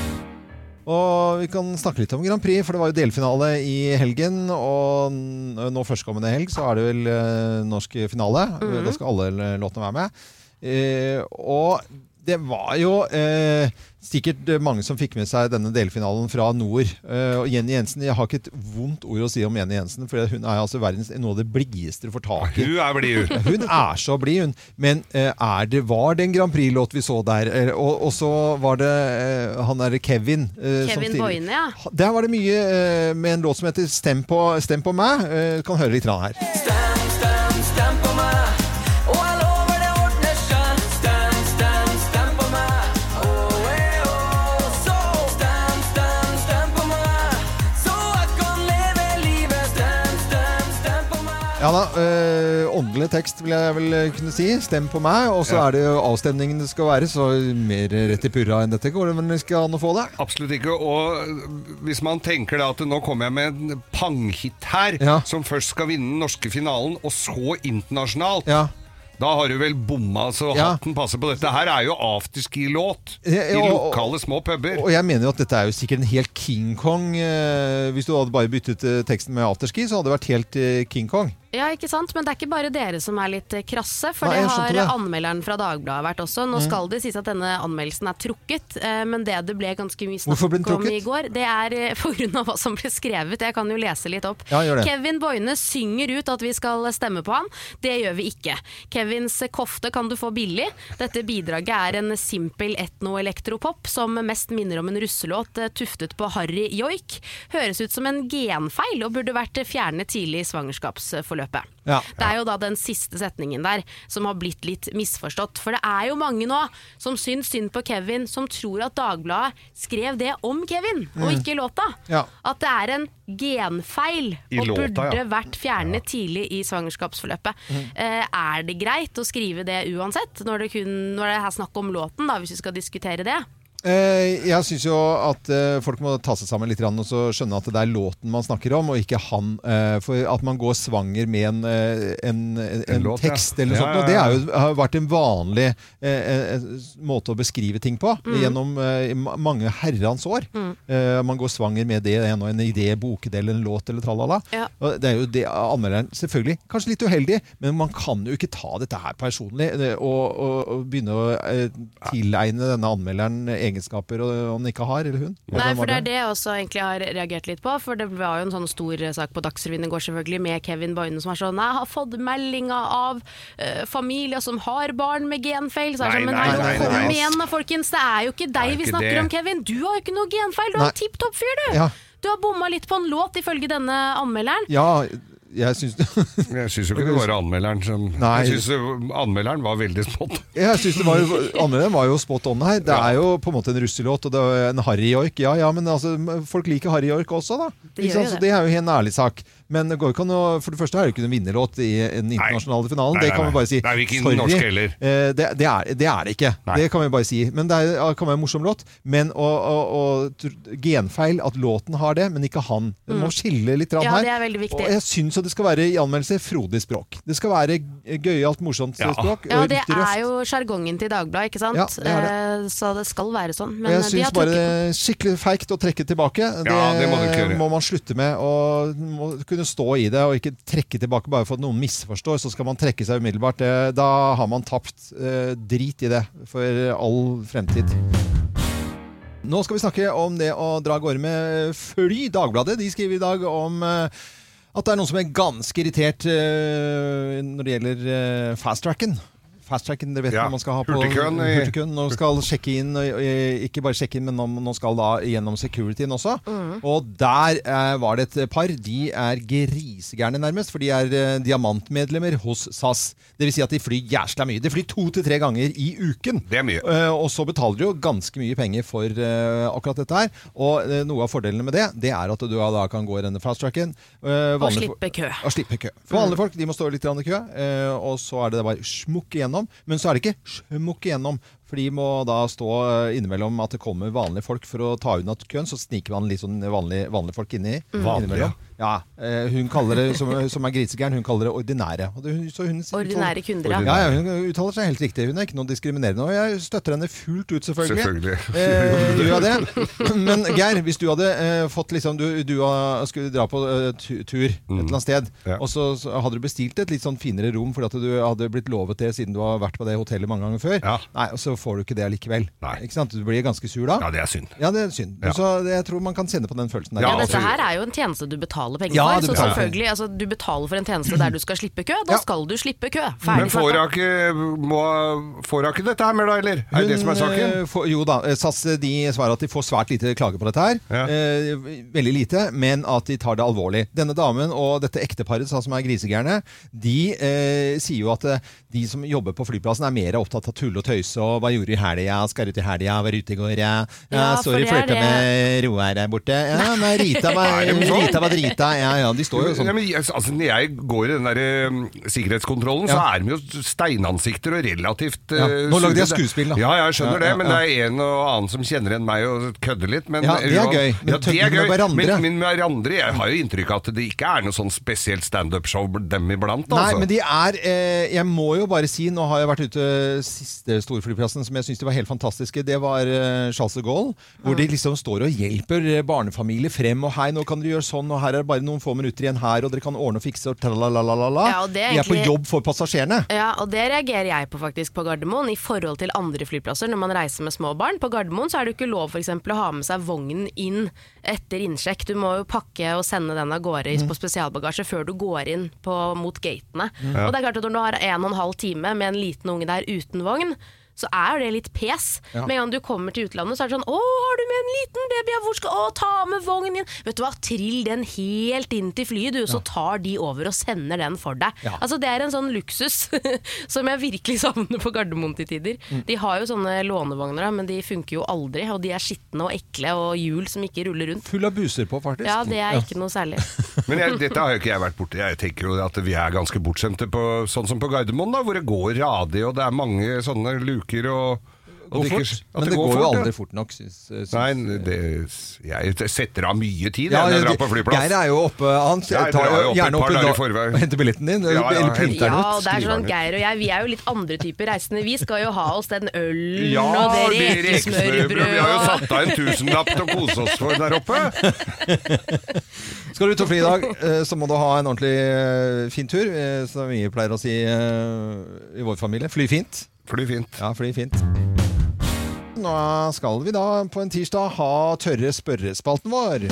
Og vi kan snakke litt om Grand Prix, for det var jo delfinale i helgen. Og n- nå førstkommende helg så er det vel eh, norsk finale.
Mhm.
Da skal alle låtene være med. Eh, og det var jo eh, sikkert mange som fikk med seg denne delfinalen fra nord. Eh, og Jenny Jensen, jeg har ikke et vondt ord å si om Jenny Jensen, for hun er altså verdens noe av det blideste du får tak i.
Hun er blid, hun.
Hun er så blid, hun. Men eh, er det, var det en Grand Prix-låt vi så der? Eh, og, og så var det eh, han derre Kevin. eh, som
Kevin
tidlig-
Boine, ja.
Der var det mye eh, med en låt som heter 'Stem på, stem på meg'. Eh, kan høre litt grann her.
Stem, stem, stem på meg. Og jeg lover det ordner seg. Stem, stem, stem på meg. Åh, eh, åh, så. Stem, stem, stem på meg. Så jeg kan leve livet. Stem, stem, stem på meg.
Ja da, øh, Åndelig tekst, vil jeg vel kunne si. Stem på meg. Og så
Ja.
er det jo avstemningen det skal være, så mer rett i purra enn dette går det vel ikke an å få det?
Absolutt ikke. Og hvis man tenker da at nå kommer jeg med en panghit her, som først skal vinne den norske finalen, og så internasjonalt, da har du vel bomma så hatten passer på dette. Her er jo afterski-låt
Ja,
i
ja, og-
lokale små puber.
Og jeg mener jo at dette er jo sikkert en helt King Kong. øh, hvis du hadde bare byttet øh, teksten med afterski, så hadde det vært helt øh, King Kong.
Ja, ikke sant? Men det er ikke bare dere som er litt eh, krasse, for
Nei,
det
jeg
har eh,
skjønte det. Mm.
anmelderen fra Dagbladet vært også. Nå skal det sies at denne anmeldelsen er trukket, eh, men det det ble ganske mye
Hvorfor ble den
snakk om
trukket?
i går, det er eh, på grunn av hva som ble skrevet. Jeg kan jo lese litt opp.
Ja, gjør det.
Kevin Boine synger ut at vi skal stemme på han. Det gjør vi ikke. Kevins kofte kan du få billig. Dette bidraget er en simpel etno-elektropop som mest minner om en russelåt eh, tuftet på harry joik. Høres ut som en genfeil og burde vært eh, fjernet tidlig i svangerskapsforløpet.
Ja.
Det er jo da den siste setningen der som har blitt litt misforstått. For det er jo mange nå som syns synd på Kevin, som tror at Dagbladet skrev det om Kevin, og
Mm.
ikke låta.
Ja.
At det er en genfeil
I
og
låta,
burde
ja.
vært fjernet tidlig i svangerskapsforløpet.
Mm.
Eh, er det greit å skrive det uansett, når det, kun, når det er snakk om låten, da, hvis vi skal diskutere det?
Eh, jeg syns jo at eh, folk må ta seg sammen litt grann, og så skjønne at det er låten man snakker om, og ikke han. eh, for at man går svanger med en, eh, en, en,
låt, ja.
tekst eller noe
Ja,
sånt. Og det
ja, ja.
er jo, har jo vært en vanlig eh, eh, måte å beskrive ting på
Mm.
gjennom eh, i ma- mange herrens år. Eh, man går svanger med det en og en idé, bokdel, en låt eller tralala. Og Det er jo det anmelderen selvfølgelig Kanskje litt uheldig, men man kan jo ikke ta dette her personlig eh, og, og, og begynne å eh, tilegne denne anmelderen egenskaper og, han ikke har, eller hun.
Nei, for det er det jeg også egentlig har reagert litt på. For det var jo en sånn stor sak på Dagsrevyen i går selvfølgelig med Kevin Boine som er sånn Jeg har fått meldinger av eh, familier som har barn med genfeil. Så er det sånn,
Nei,
men
nei,
hallo,
nei,
kom
nei.
igjen da, folkens. Det er jo ikke deg
ikke
vi snakker
det.
om, Kevin. Du har jo ikke noe genfeil. Du er
Nei.
en tipp topp fyr, du.
Ja.
Du har bomma litt på en låt ifølge denne anmelderen.
Ja, jeg syns
Jeg syns jo ikke det var anmelderen som
Nei.
Jeg syns anmelderen var veldig smått.
Jeg synes det var jo, Anmelderen var jo spot on her. Det er jo på en måte en russelåt og det er en harryjoik. Ja, ja, men altså, folk liker harryjoik også, da.
Det gjør
Ikke sant?
jo
Så
det.
det er jo en ærlig sak. Men det går ikke an å, for det første er det jo ikke noen vinnerlåt i den internasjonale finalen.
Nei,
det
nei,
kan vi
nei.
bare si.
Det er jo ikke
Sorry.
norsk heller.
Eh, Det, det, er, det er det ikke. Det kan vi bare si. Men det er, kan være en morsom låt. Men å, å, å tr- genfeil at låten har det, men ikke han. Vi må
Mm.
skille litt grann
Ja,
her.
det er veldig viktig.
Og jeg syns jo det skal være i anmeldelser frodig språk. Det skal være gøyalt, morsomt
Ja.
språk.
Ja,
og
det
litt røft.
er jo sjargongen til Dagbladet, ikke sant?
Ja, det er
Eh, Så det skal være sånn.
Og
Men
jeg
eh, de
syns
har
bare det
trukket
er skikkelig feigt å trekke tilbake. Det,
Ja, det må du ikke gjøre.
må man slutte med. Og må kunne stå i det, og ikke trekke tilbake bare for at noen misforstår. Så skal man trekke seg umiddelbart. Det, da har man tapt. Eh, drit i det for all fremtid. Nå skal vi snakke om det å dra av gårde med fly. Dagbladet de skriver i dag om eh, at det er noen som er ganske irritert eh, når det gjelder eh, fast-tracken. fast-tracken dere vet
Ja,
når man skal ha på
hurtigkøen i-
hurtigkøen, Når man skal sjekke inn, og, eh, ikke bare sjekke inn, men nå- nå skal da gjennom securityen også.
Mm.
Mhm.
Og der eh, var det et par. De er grisegærne nærmest, for de er eh, diamantmedlemmer hos SAS. Det vil si at de flyr jæsla mye. De flyr to til tre ganger i uken. Eh,
Det er mye.
og så betaler du jo ganske mye penger for eh, akkurat dette her. Og eh, noe av fordelene med det, det er at du da kan gå i denne fast-tracken. eh,
Og
vanlige-
slippe kø. Mm.
Og slippe kø. For vanlige folk de må stå litt grann i kø, eh, og så er det bare smukk igjennom. Men så er det ikke smukk igjennom, for de må da stå eh, innimellom at det kommer vanlige folk for å ta unna køen. Så sniker man litt sånn vanlige, vanlige folk inni.
Mm.
innimellom. Ja, eh, hun kaller det, som, som er grisegæren, hun kaller det ordinære. Og det, hun- så hun,
Ordinære kunder, ja.
ja. ja. Hun uttaler seg helt riktig. Hun er ikke noe diskriminerende. Og jeg støtter henne fullt ut,
Selvfølgelig.
selvfølgelig. Eh, gjør jeg det? Men Geir, hvis du hadde eh, fått liksom Du, du ah, skulle dra på eh, tu- tur et
Mm.
eller annet sted, og så, så hadde du bestilt et litt sånn finere rom fordi at du hadde blitt lovet det siden du har vært på det hotellet mange ganger før. Nei, og så får du ikke det likevel. Ikke sant? Du blir ganske sur da.
Ja, det er synd.
Ja, det er synd.
Ja.
Så det, jeg tror man kan kjenne på den følelsen.
Ja, dette her er jo en tjeneste du betaler penger
Ja, du
for. Så
betaler
selvfølgelig, altså, du betaler for en tjeneste der du skal slippe kø. Da skal du slippe kø.
Men
Ferdig
får
snakka.
hun ikke, må- får hun ikke dette her mer, da, eller? Er det det som er saken?
Hun, eh, får- jo da, eh, SAS eh, de svarer at de får svært lite klage på dette her. Eh, veldig lite, men at de tar det alvorlig. Denne damen og dette ekteparet sa, som er grisegærne, de eh, sier jo at eh, de som jobber på flyplassen er mer opptatt av tull og tøyse og hva gjorde du i helga, skal ut i helga, var ute i går, ja. ja
Ja, for
sorry,
det er
flørta
det.
med Roar der borte. Ja, nei, Rita var,
Er det sånn?
Rita var drita. Ja, ja, de står jo sånn.
Ja, men, jeg- altså, når jeg går i den der eh, sikkerhetskontrollen, så er de jo steinansikter og relativt
Ja.
eh,
Nå lagde jeg
sure.
skuespill, da.
Ja, jeg skjønner
Ja, ja,
det, men
ja.
det er en og annen som kjenner igjen meg og kødder litt. Men, eh,
Ja, det er gøy, men
Ja, det
kødder
er
med
gøy.
hverandre.
Men, men hverandre Jeg har jo inntrykk av at det ikke er noe sånn spesielt standup-show dem iblant.
Nei,
Altså.
men de er eh, Jeg må jo bare si, nå har jeg vært ute siste storflyplassen som jeg syns de var helt fantastiske. Det var eh, Charles de Gaulle. Hvor de liksom står og hjelper eh, barnefamilier frem. Og hei, nå kan dere gjøre sånn, og her er det bare noen få minutter igjen her, og dere kan ordne og fikse og tralalalala.
Ja, og det er
de er på
egentlig-
jobb for passasjerene.
Ja, og det reagerer jeg på faktisk på Gardermoen, i forhold til andre flyplasser når man reiser med små barn. På Gardermoen så er det jo ikke lov for eksempel, å ha med seg vognen inn etter innsjekk. Du må jo pakke og sende den av gårde
Mm.
i- på spesialbagasje før du går inn på, mot gatene.
Ja.
Og det er klart at når du har en og en halv time med en liten unge der uten vogn, så er jo det litt pes.
Ja.
Med en gang du kommer til utlandet, så er det sånn 'Å, har du med en liten baby? Ja, Hvor skal Å, ta med vognen din!' Vet du hva, trill den helt inn til flyet, du, så tar de over og sender den for deg.
Ja.
Altså Det er en sånn luksus som jeg virkelig savner på Gardermoen til tider.
Mm.
De har jo sånne lånevogner, da, men de funker jo aldri. Og de er skitne og ekle og hjul som ikke ruller rundt.
Full av buser på, faktisk.
Ja, det er ikke noe særlig.
Men jeg, dette har jo ikke jeg vært borti. Jeg tenker jo at vi er ganske bortskjemte, på, sånn som på Gardermoen, da, hvor det går radig, og det er mange sånne luker og og
Går
det ikke-
fort.
at
Men det går jo
ja.
aldri fort nok, syns
Nei, det, jeg setter av mye tid
Ja,
jeg, når jeg drar
det-
på flyplass.
Geir er jo oppe, han
Jeg
tar
drar jo
jo
opp et
gjerne
par
opp en
dager i
dag
forveien.
og henter billetten din.
Ja, ja,
eller
henter
printer
Ja,
den
og
ut.
det er
skriver
sånn
den ut.
Geir og jeg, vi er jo litt andre typer reisende. Vi skal jo ha oss den ølen
Ja,
og det
det rekesmørbrød.
rekesmørbrødet.
Vi har jo
og-
satt av en tusenlapp til å kose oss for der oppe.
Skal du ut og fly i dag, eh, så må du ha en ordentlig eh, fin tur, eh, som vi pleier å si eh, i vår familie. Fly fint.
Fly fint.
Ja, fly fint. Nå skal vi da på en tirsdag ha tørre spørrespalten vår.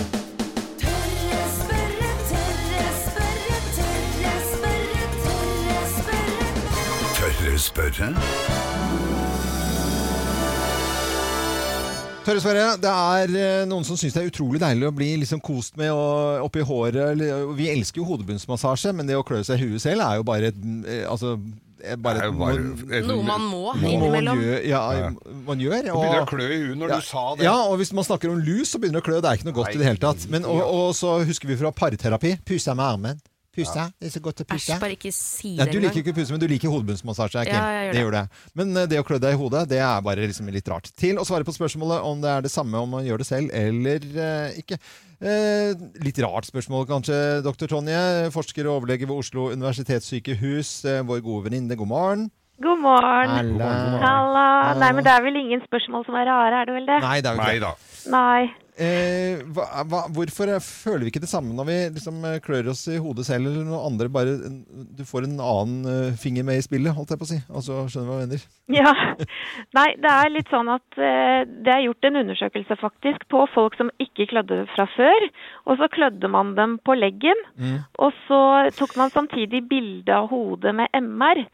Tørre spørre?
Tørre spørre, det er eh, noen som syns det er utrolig deilig å bli liksom kost med og oppi håret. eller- og Vi elsker jo hodebunnsmassasje, men det å klø seg i huet selv er jo bare et eh, altså, eh, bare
Det er jo bare et- Noe man må innimellom.
Man gjør, ja, man gjør
Det
og-
begynner å klø i huet når
ja,
du sa det.
Ja, og hvis man snakker om lus, så begynner det å klø. Det er ikke noe godt i det hele tatt. Men, og, og så husker vi fra parterapi. Pusa med armen. Pusa. Det er så godt å pusse.
Æsj, bare ikke si
Nei,
det
du liker
engang.
ikke puse, men du liker hodebunnsmassasje. Kim.
Ja, jeg gjør
det
det.
gjør det. Men eh, det å klø deg i hodet, det er bare liksom litt rart. Til å svare på spørsmålet om det er det samme om man gjør det selv eller eh, ikke. Eh, litt rart spørsmål kanskje, doktor Tonje. Forsker og overlege ved Oslo universitetssykehus. Eh, vår gode venninne, god morgen.
God morgen.
Halla.
Halla. Nei, men det er vel ingen spørsmål som er rare, er det vel det?
Nei, det er jo ikke det.
Nei.
Eh, hva, hva, hvorfor eh, føler vi ikke det samme når vi liksom eh, klør oss i hodet selv, eller når andre bare Du får en annen eh, finger med i spillet, holdt jeg på å si. Altså, skjønner du hva jeg mener?
Ja. Nei, det er litt sånn at eh, det er gjort en undersøkelse faktisk på folk som ikke klødde fra før. Og så klødde man dem på leggen, og så tok man samtidig bilde av hodet med MR.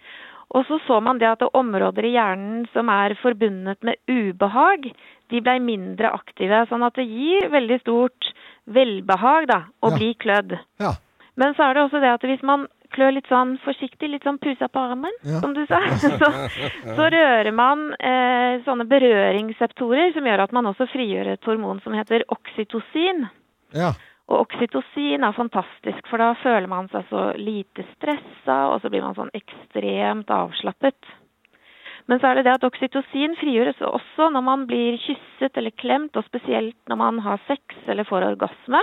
Og så så man det at områder i hjernen som er forbundet med ubehag, de ble mindre aktive. Sånn at det gir veldig stort velbehag da, å
Ja.
bli klødd.
Ja.
Men så er det også det at hvis man klør litt sånn forsiktig, litt sånn pusa på armen,
Ja.
som du sa, så, så rører man eh, sånne berøringsseptorer som gjør at man også frigjør et hormon som heter oksytocin.
Ja.
Og oksytocin er fantastisk, for da føler man seg så lite stressa, og så blir man sånn ekstremt avslappet. Men så er det det at oksytocin frigjøres også når man blir kysset eller klemt, og spesielt når man har sex eller får orgasme.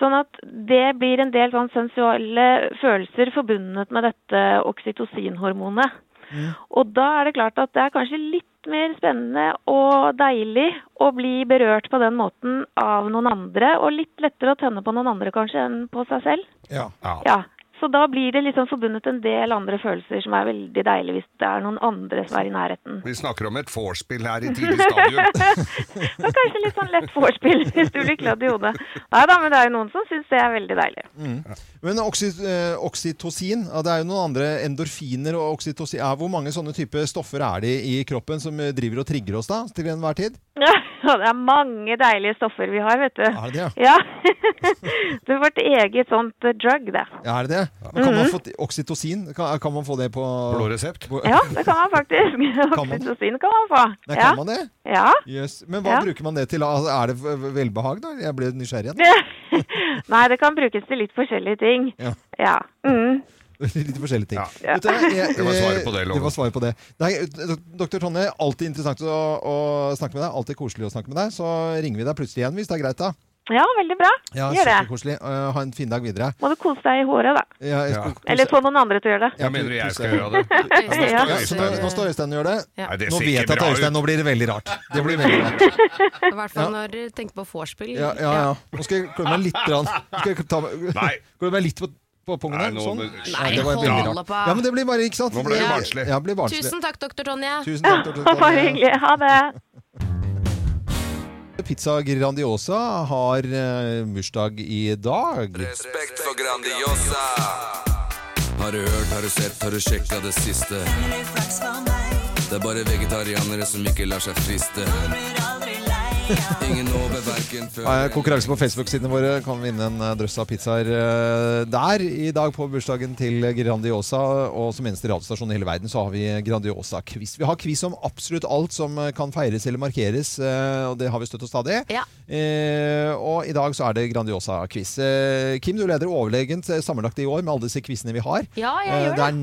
Sånn at det blir en del sånn sensuelle følelser forbundet med dette oksytocinhormonet. Og da er det klart at det er kanskje litt mer spennende og deilig å bli berørt på den måten av noen andre, og litt lettere å tenne på noen andre kanskje enn på seg selv.
Ja.
Ja, Så da blir det liksom forbundet en del andre følelser som er veldig deilig hvis det er noen andre som er i nærheten.
Vi snakker om et vorspiel her i tidlig stadium.
og kanskje litt sånn lett vorspiel hvis du blir klødd i hodet. Nei da, men det er jo noen som syns det er veldig deilig.
Mm. Men oksy, eh, oksytocin, ja, det er jo noen andre endorfiner og oksytocin. Ja, hvor mange sånne type stoffer er det i kroppen som eh, driver og trigger oss da, til enhver tid?
Ja, det er mange deilige stoffer vi har, vet du.
Er det det,
ja? det er vårt eget sånt eh, drug, det.
Ja, er det det? Men kan man
Mhm.
få t- oksytocin? Kan, kan man få det på
Blå resept?
Ja, det kan man faktisk.
Kan man?
Oksytocin kan man få.
Det
ja.
kan man det?
Ja.
Yes. Men hva
Ja.
bruker man det til? Altså, er det v- velbehag, da? Jeg ble nysgjerrig igjen.
Nei, det kan brukes til litt forskjellige ting.
Ja.
Ja. Mm.
Litt forskjellige ting.
Ja.
Vet du hva, jeg- eh,
Det var svaret på det, Loven.
Det var svaret på det. Nei, dok- Dr. Tonje, alltid interessant å, å snakke med deg. Alltid koselig å snakke med deg. Så ringer vi deg plutselig igjen hvis det er greit, da.
ja, veldig bra.
Ja,
Gjør det.
Kjempekoselig. Eh, ha en fin dag videre.
Må du kose deg i håret, da.
Ja, jeg skal-
Eller få noen andre til å gjøre det.
Jeg mener jeg skal gjøre det.
Ja.
Ja, så nå, nå står Øystein og gjør det.
Ja.
Nei, det
nå
ser
vet
ikke
jeg at
bra ut.
Øystein, nå blir det veldig rart. Det blir veldig rart.
I hvert fall
Ja.
når dere tenker på vorspiel.
Ja, ja, ja. Nå skal jeg klø meg litt. Rann. Nå Skal jeg ta meg, Går det meg litt på, på pungen her?
Nei, nå-
Sånn?
Nei,
det var veldig
hold
rart.
på.
Ja, men det blir bare, ikke sant?
Nå ble det barnslig.
Ja, det blir barnslig.
Tusen takk, doktor Tonje.
Tusen takk, doktor Tonje.
Bare hyggelig. Ha det.
Pizza Grandiosa har eh, bursdag i dag.
Respekt for Grandiosa. Har du hørt, har du sett, har du sjekka det siste? Det er bare vegetarianere som ikke lar seg friste. Ingen nåde verken før
Eh, Konkurranse på Facebook-sidene våre kan vinne en eh, drøss av pizzaer eh, der i dag på bursdagen til Grandiosa. Og som eneste radiostasjon i hele verden så har vi Grandiosa-quiz. Vi har quiz om absolutt alt som eh, kan feires eller markeres, eh, og det har vi støtt og stadig. Eh, og i dag så er det Grandiosa-quiz. Eh, Kim, du leder overlegent eh, sammenlagt i år med alle disse quizene vi har. Eh,
Ja, jeg gjør
det. er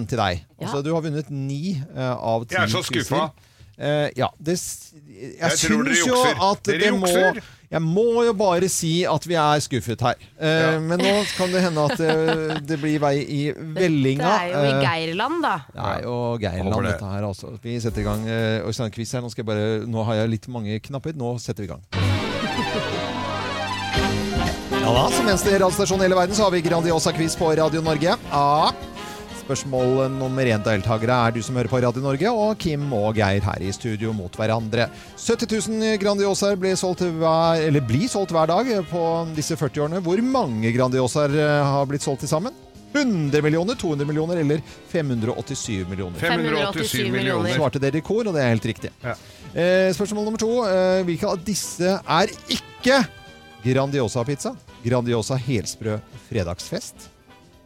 9-1 til deg.
Ja.
Altså, du har vunnet ni eh, av ti
Jeg er så skuffa.
Eh, ja, det, s- jeg,
Jeg tror dere
syns jo
jukser.
at
Dere
det må
jukser.
Jeg må jo bare si at vi er skuffet her. Eh, Men nå kan det hende at eh, det blir vei i
Det
vellinga.
er jo i
Eh,
Geirland, da.
det er jo
Håper
Geirland,
det.
dette her. Altså. Vi setter i gang eh, Øystein-quiz her. Nå, skal jeg bare, nå har jeg litt mange knapper. Nå setter vi i gang. Ja da, Som eneste radiostasjon i hele verden så har vi Grandiosa-quiz på Radio Norge. Ja. Spørsmål nummer én deltakere er du som hører på Radio Norge, og Kim og Geir her i studio mot hverandre. 70 000 Grandiosaer blir solgt hver, eller blir solgt hver dag på disse 40 årene. Hvor mange Grandiosaer eh, har blitt solgt til sammen? 100 millioner, 200 millioner eller 587 millioner?
587 millioner.
Svarte dere i kor, og det er helt riktig. Eh, spørsmål nummer to. Eh, hvilke av disse er ikke Grandiosa-pizza? Grandiosa helsprø fredagsfest?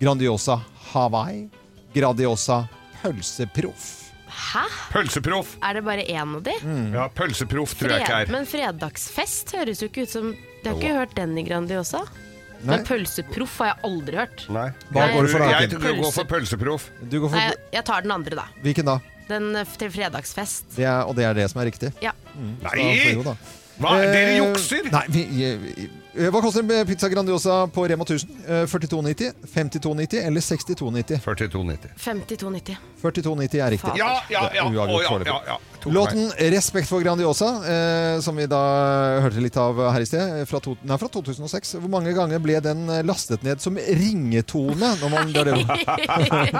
Grandiosa Hawaii? Grandiosa pølseproff?
Hæ?
Pølseproff.
Er det bare én av de?
Mm.
Ja, pølseproff tror jeg ikke
Fred,
er.
men fredagsfest høres jo ikke ut som Jeg har ikke hørt den i Grandiosa.
Nei.
Men pølseproff har jeg aldri hørt.
Nei.
Hva går du for da,
Jeg
Kim?
tror jeg går for pølseproff.
Du går
Nei,
for
jeg, jeg tar den andre, da.
Hvilken da?
Den eh, til fredagsfest.
Det er, og det er det som er riktig.
Ja.
Mm, så
Nei!
får jo da.
Hva? Ah, Dere
Eh,
jukser!
Nei, vi, vi- eh, hva koster en pizza Grandiosa på Rema 1000? Eh, 42,90, 52,90 eller 62,90?
42,90.
52,90.
42,90 er riktig.
Fader. Ja,
ja,
Det er
ja.
uavgjort
Å, ja,
foreløpig.
ja, ja. Tok
Låten 'Respekt for Grandiosa', eh, som vi da hørte litt av her i sted, eh, fra, to, nei, fra 2006. Hvor mange ganger ble den eh, lastet ned som ringetone? Når man gjør det?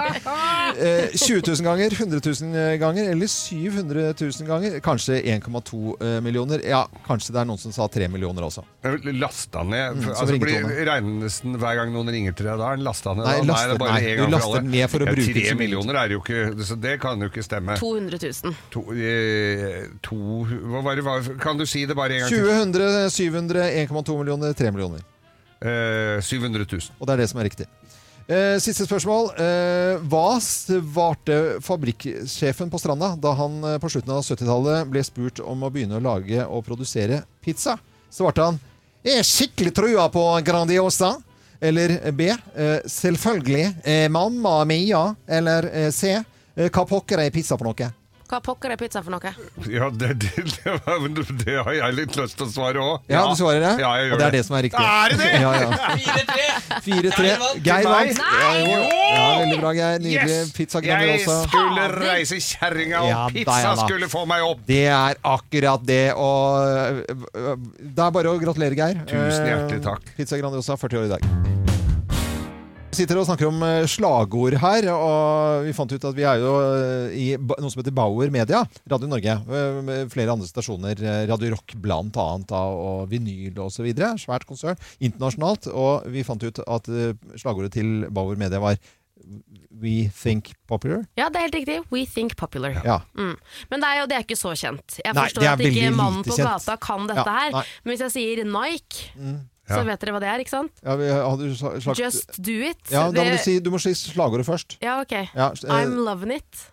Eh, 20 000 ganger, 100 000 ganger eller 700 eh, 000 ganger? Kanskje 1,2 millioner? Ja, kanskje det er noen som sa 3 millioner også.
Last lasta ned? For,
Mm, som
altså, blir,
ringetone.
regnes den hver gang noen ringer til deg? Da er den lasta ned?
Nei,
da?
laster-
det er bare
nei,
en
du
gang
laster
alle.
den ned for å
ja,
bruke den
Tre
som-
millioner er jo ikke Så det kan jo ikke stemme.
200 000.
To, eh, to, hva var det, hva- kan du si det bare en gang
20,
til?
100, 700, 1,2 millioner, 3 millioner.
Eh, 700 000.
Og det er det som er riktig. Eh, siste spørsmål. Eh, hva svarte fabrikksjefen på Stranda da han eh, på slutten av 70-tallet ble spurt om å begynne å lage og produsere pizza? Svarte han Jeg er skikkelig trua på Grandiosa. Eller B. Eh, selvfølgelig. Eh, mamma mia. Eller eh, C. Eh, hva pokker er pizza for noe?
Hva pokker er pizza for noe?
Ja, det, det, det, var- men det har jeg litt lyst til å svare òg.
Ja, du svarer det?
Ja, jeg gjør
og det er det som er riktig.
Er det det?!
ja, ja. 4-3. Geir vant. Ja, jo. ja, veldig bra, Geir. Nydelig
Yes!
pizza
Jeg
Grandiosa.
skulle reise kjerringa, og
Ja, da,
pizza
ja, da.
skulle få meg opp!
Det er akkurat det. Og øh, øh, det er bare å gratulere, Geir.
Tusen hjertelig
Eh,
takk.
Pizza Grandiosa, 40 år i dag. Vi sitter og snakker om eh, slagord her, og vi fant ut at vi er jo eh, i ba- noe som heter Bauer Media, Radio Norge. eh, med Flere andre stasjoner, eh, Radio Rock blant annet, da, og vinyl og så videre. Svært konsern internasjonalt. Og vi fant ut at eh, slagordet til Bauer Media var We think popular.
Ja, det er helt riktig. We think popular.
Ja.
Mm. Men det er jo det er ikke så kjent. Jeg
Nei,
forstår
det er
at ikke
veldig
mannen
lite
på
kjent.
gata kan dette
Ja,
her,
nei.
men hvis jeg sier Nike, så
Ja.
vet dere hva det er, ikke sant?
Ja, vi hadde jo sa- slagt-
Just do it.
Ja, da må
Det-
du, si, du må si slagordet først.
Ja, ok.
Ja, s- eh,
I'm loving it.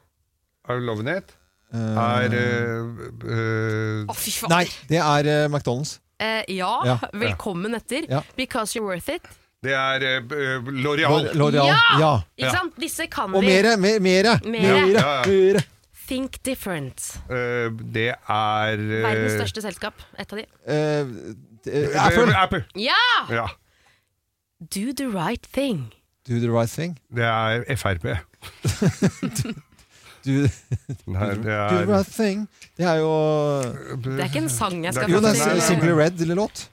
Are you loving it? Er eh, eh,
Å, fy faen.
Nei, det er eh, McDonald's.
Eh, ja,
Ja.
velkommen etter.
Ja.
Because you're worth it.
Det er eh, L'Oreal.
Lo- L'Oreal, ja.
Ikke sant? Disse kan
Og
vi.
mere, mere, mere,
Mere.
mere,
Ja, ja.
mere.
Think different.
Eh, det er eh,
Verdens største selskap. Et av de.
Eh,
eh,
Apple.
Apple.
Ja!
Ja.
Do the right thing.
Do the right thing.
Det er Frp.
Do,
Nei, det er-
do the right thing. Det er jo
Det er ikke en sang jeg skal
Jo, det
få
er
til.
Simply Red, lille låt.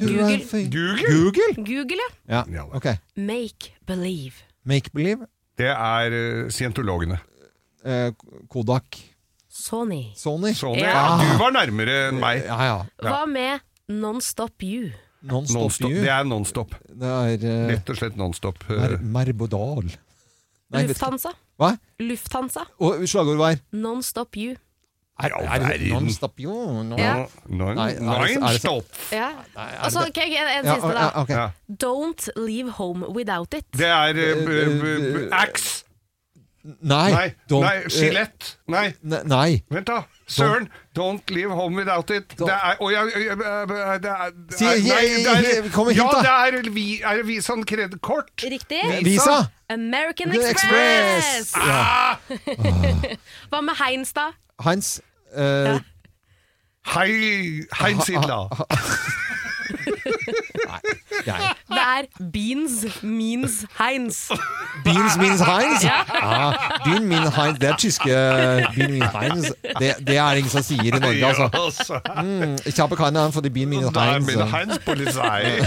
Do the right thing.
Google?
Google, ja.
Ja, ok.
Make believe.
Make believe.
Det er eh, scientologene.
Eh, Kodak.
Sony.
Sony.
Ja.
Ja. Du var nærmere enn meg.
Ja, ja.
Hva med Non-Stop You?
Non-stop
Non-stop.
you.
Det er nonstop.
Det er eh,
Rett og slett nonstop. Eh,
Mer Merbodal. Nei, vet ikke.
Lufthansa.
Hva?
Lufthansa.
Og slagordet var
Non-Stop You.
Er, er, er, non-stop you. Non,
Ja.
Non-
Nei, er det- er det-
non-stop.
Ja.
er
Og så
det-
ok, en, en
Ja,
siste, da.
ja, ok. Ja.
Don't leave home without it.
Det er eh, b- b- b- axe.
Nei,
Nei,
don't- eh,
nei skjelett. Nei.
Ne- Nei.
Vent, da. Søren! Don't leave home without it. Det er Å, jeg jeg- jeg- jeg- Det er
Si-
nei,
jeg-
det er-
jeg- kom med
Ja,
hint, da.
det er, vi, sånn er det Visa en kredittkort?
Riktig.
Visa.
American
The
Express!
Express. Ja.
Hva med Heinz, da?
Heinz eh,
Hei, Heinz Hitler.
Geir.
Det er Beans means Heinz.
Beans means Heinz?
Ja.
Ja, Bean mean Heinz. Det er tyske Bean mean Heinz. Det, det er det ingen som sier i Norge, altså. Mm, altså. ich habe keine Ahnung for the Bean mean
Da er
Heinz.
min Heinz-polizei.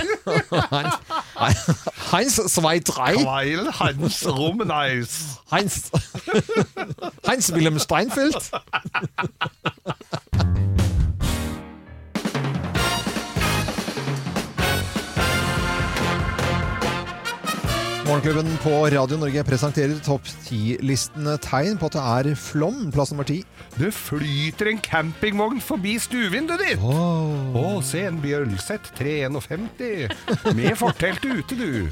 Heinz, Heinz 2-3.
Weil Heinz Rummeneis.
Heinz Heinz Wilhelm Steinfeld. Morgenklubben på Radio Norge presenterer topp 10-listene tegn på at det er flom. Plass nummer ti.
Det flyter en campingvogn forbi stuevinduet ditt. Å, se en Bjølseth 351. Med fortelt ute, du.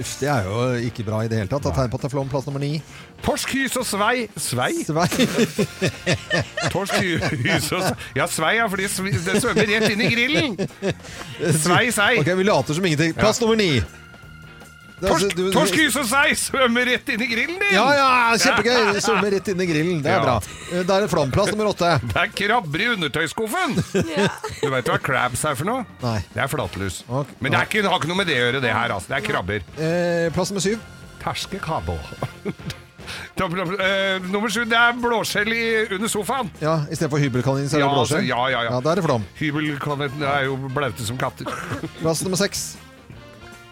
Uff, det er jo ikke bra i det hele tatt. Det er tegn på at det er flom. Plass nummer ni.
Torsk, hys og svei. Svei?
Svei.
Torsk, hys og svei. Ja, svei, ja, fordi svi- det svømmer rett inn i grillen. Svei, svei.
Ok, Vi later som ingenting. Plass nummer ni. Det er altså-
Torsk,
du- du-
torsk, hys og svei svømmer rett inn i grillen din.
Ja, ja, kjempegøy! Svømmer rett inn i grillen. Det
Ja.
er bra. Eh, Da er det flom. Plass nummer åtte.
Det er krabber i undertøyskuffen! Du veit hva crabs er for noe?
Nei.
Det er flatlus.
Ok.
Men det er ikke, har ikke noe med det å gjøre, det her. Altså. Det er krabber.
Eh, plass nummer syv.
Terske kabel. Topp, topp, eh, nummer sju, det er blåskjell i- under sofaen.
Ja, Istedenfor hybelkanin, så er det
Ja, altså,
blåskjell.
ja, ja, ja.
Da er det flom.
Hybelkoneten er jo blaute som katter.
Plass nummer seks.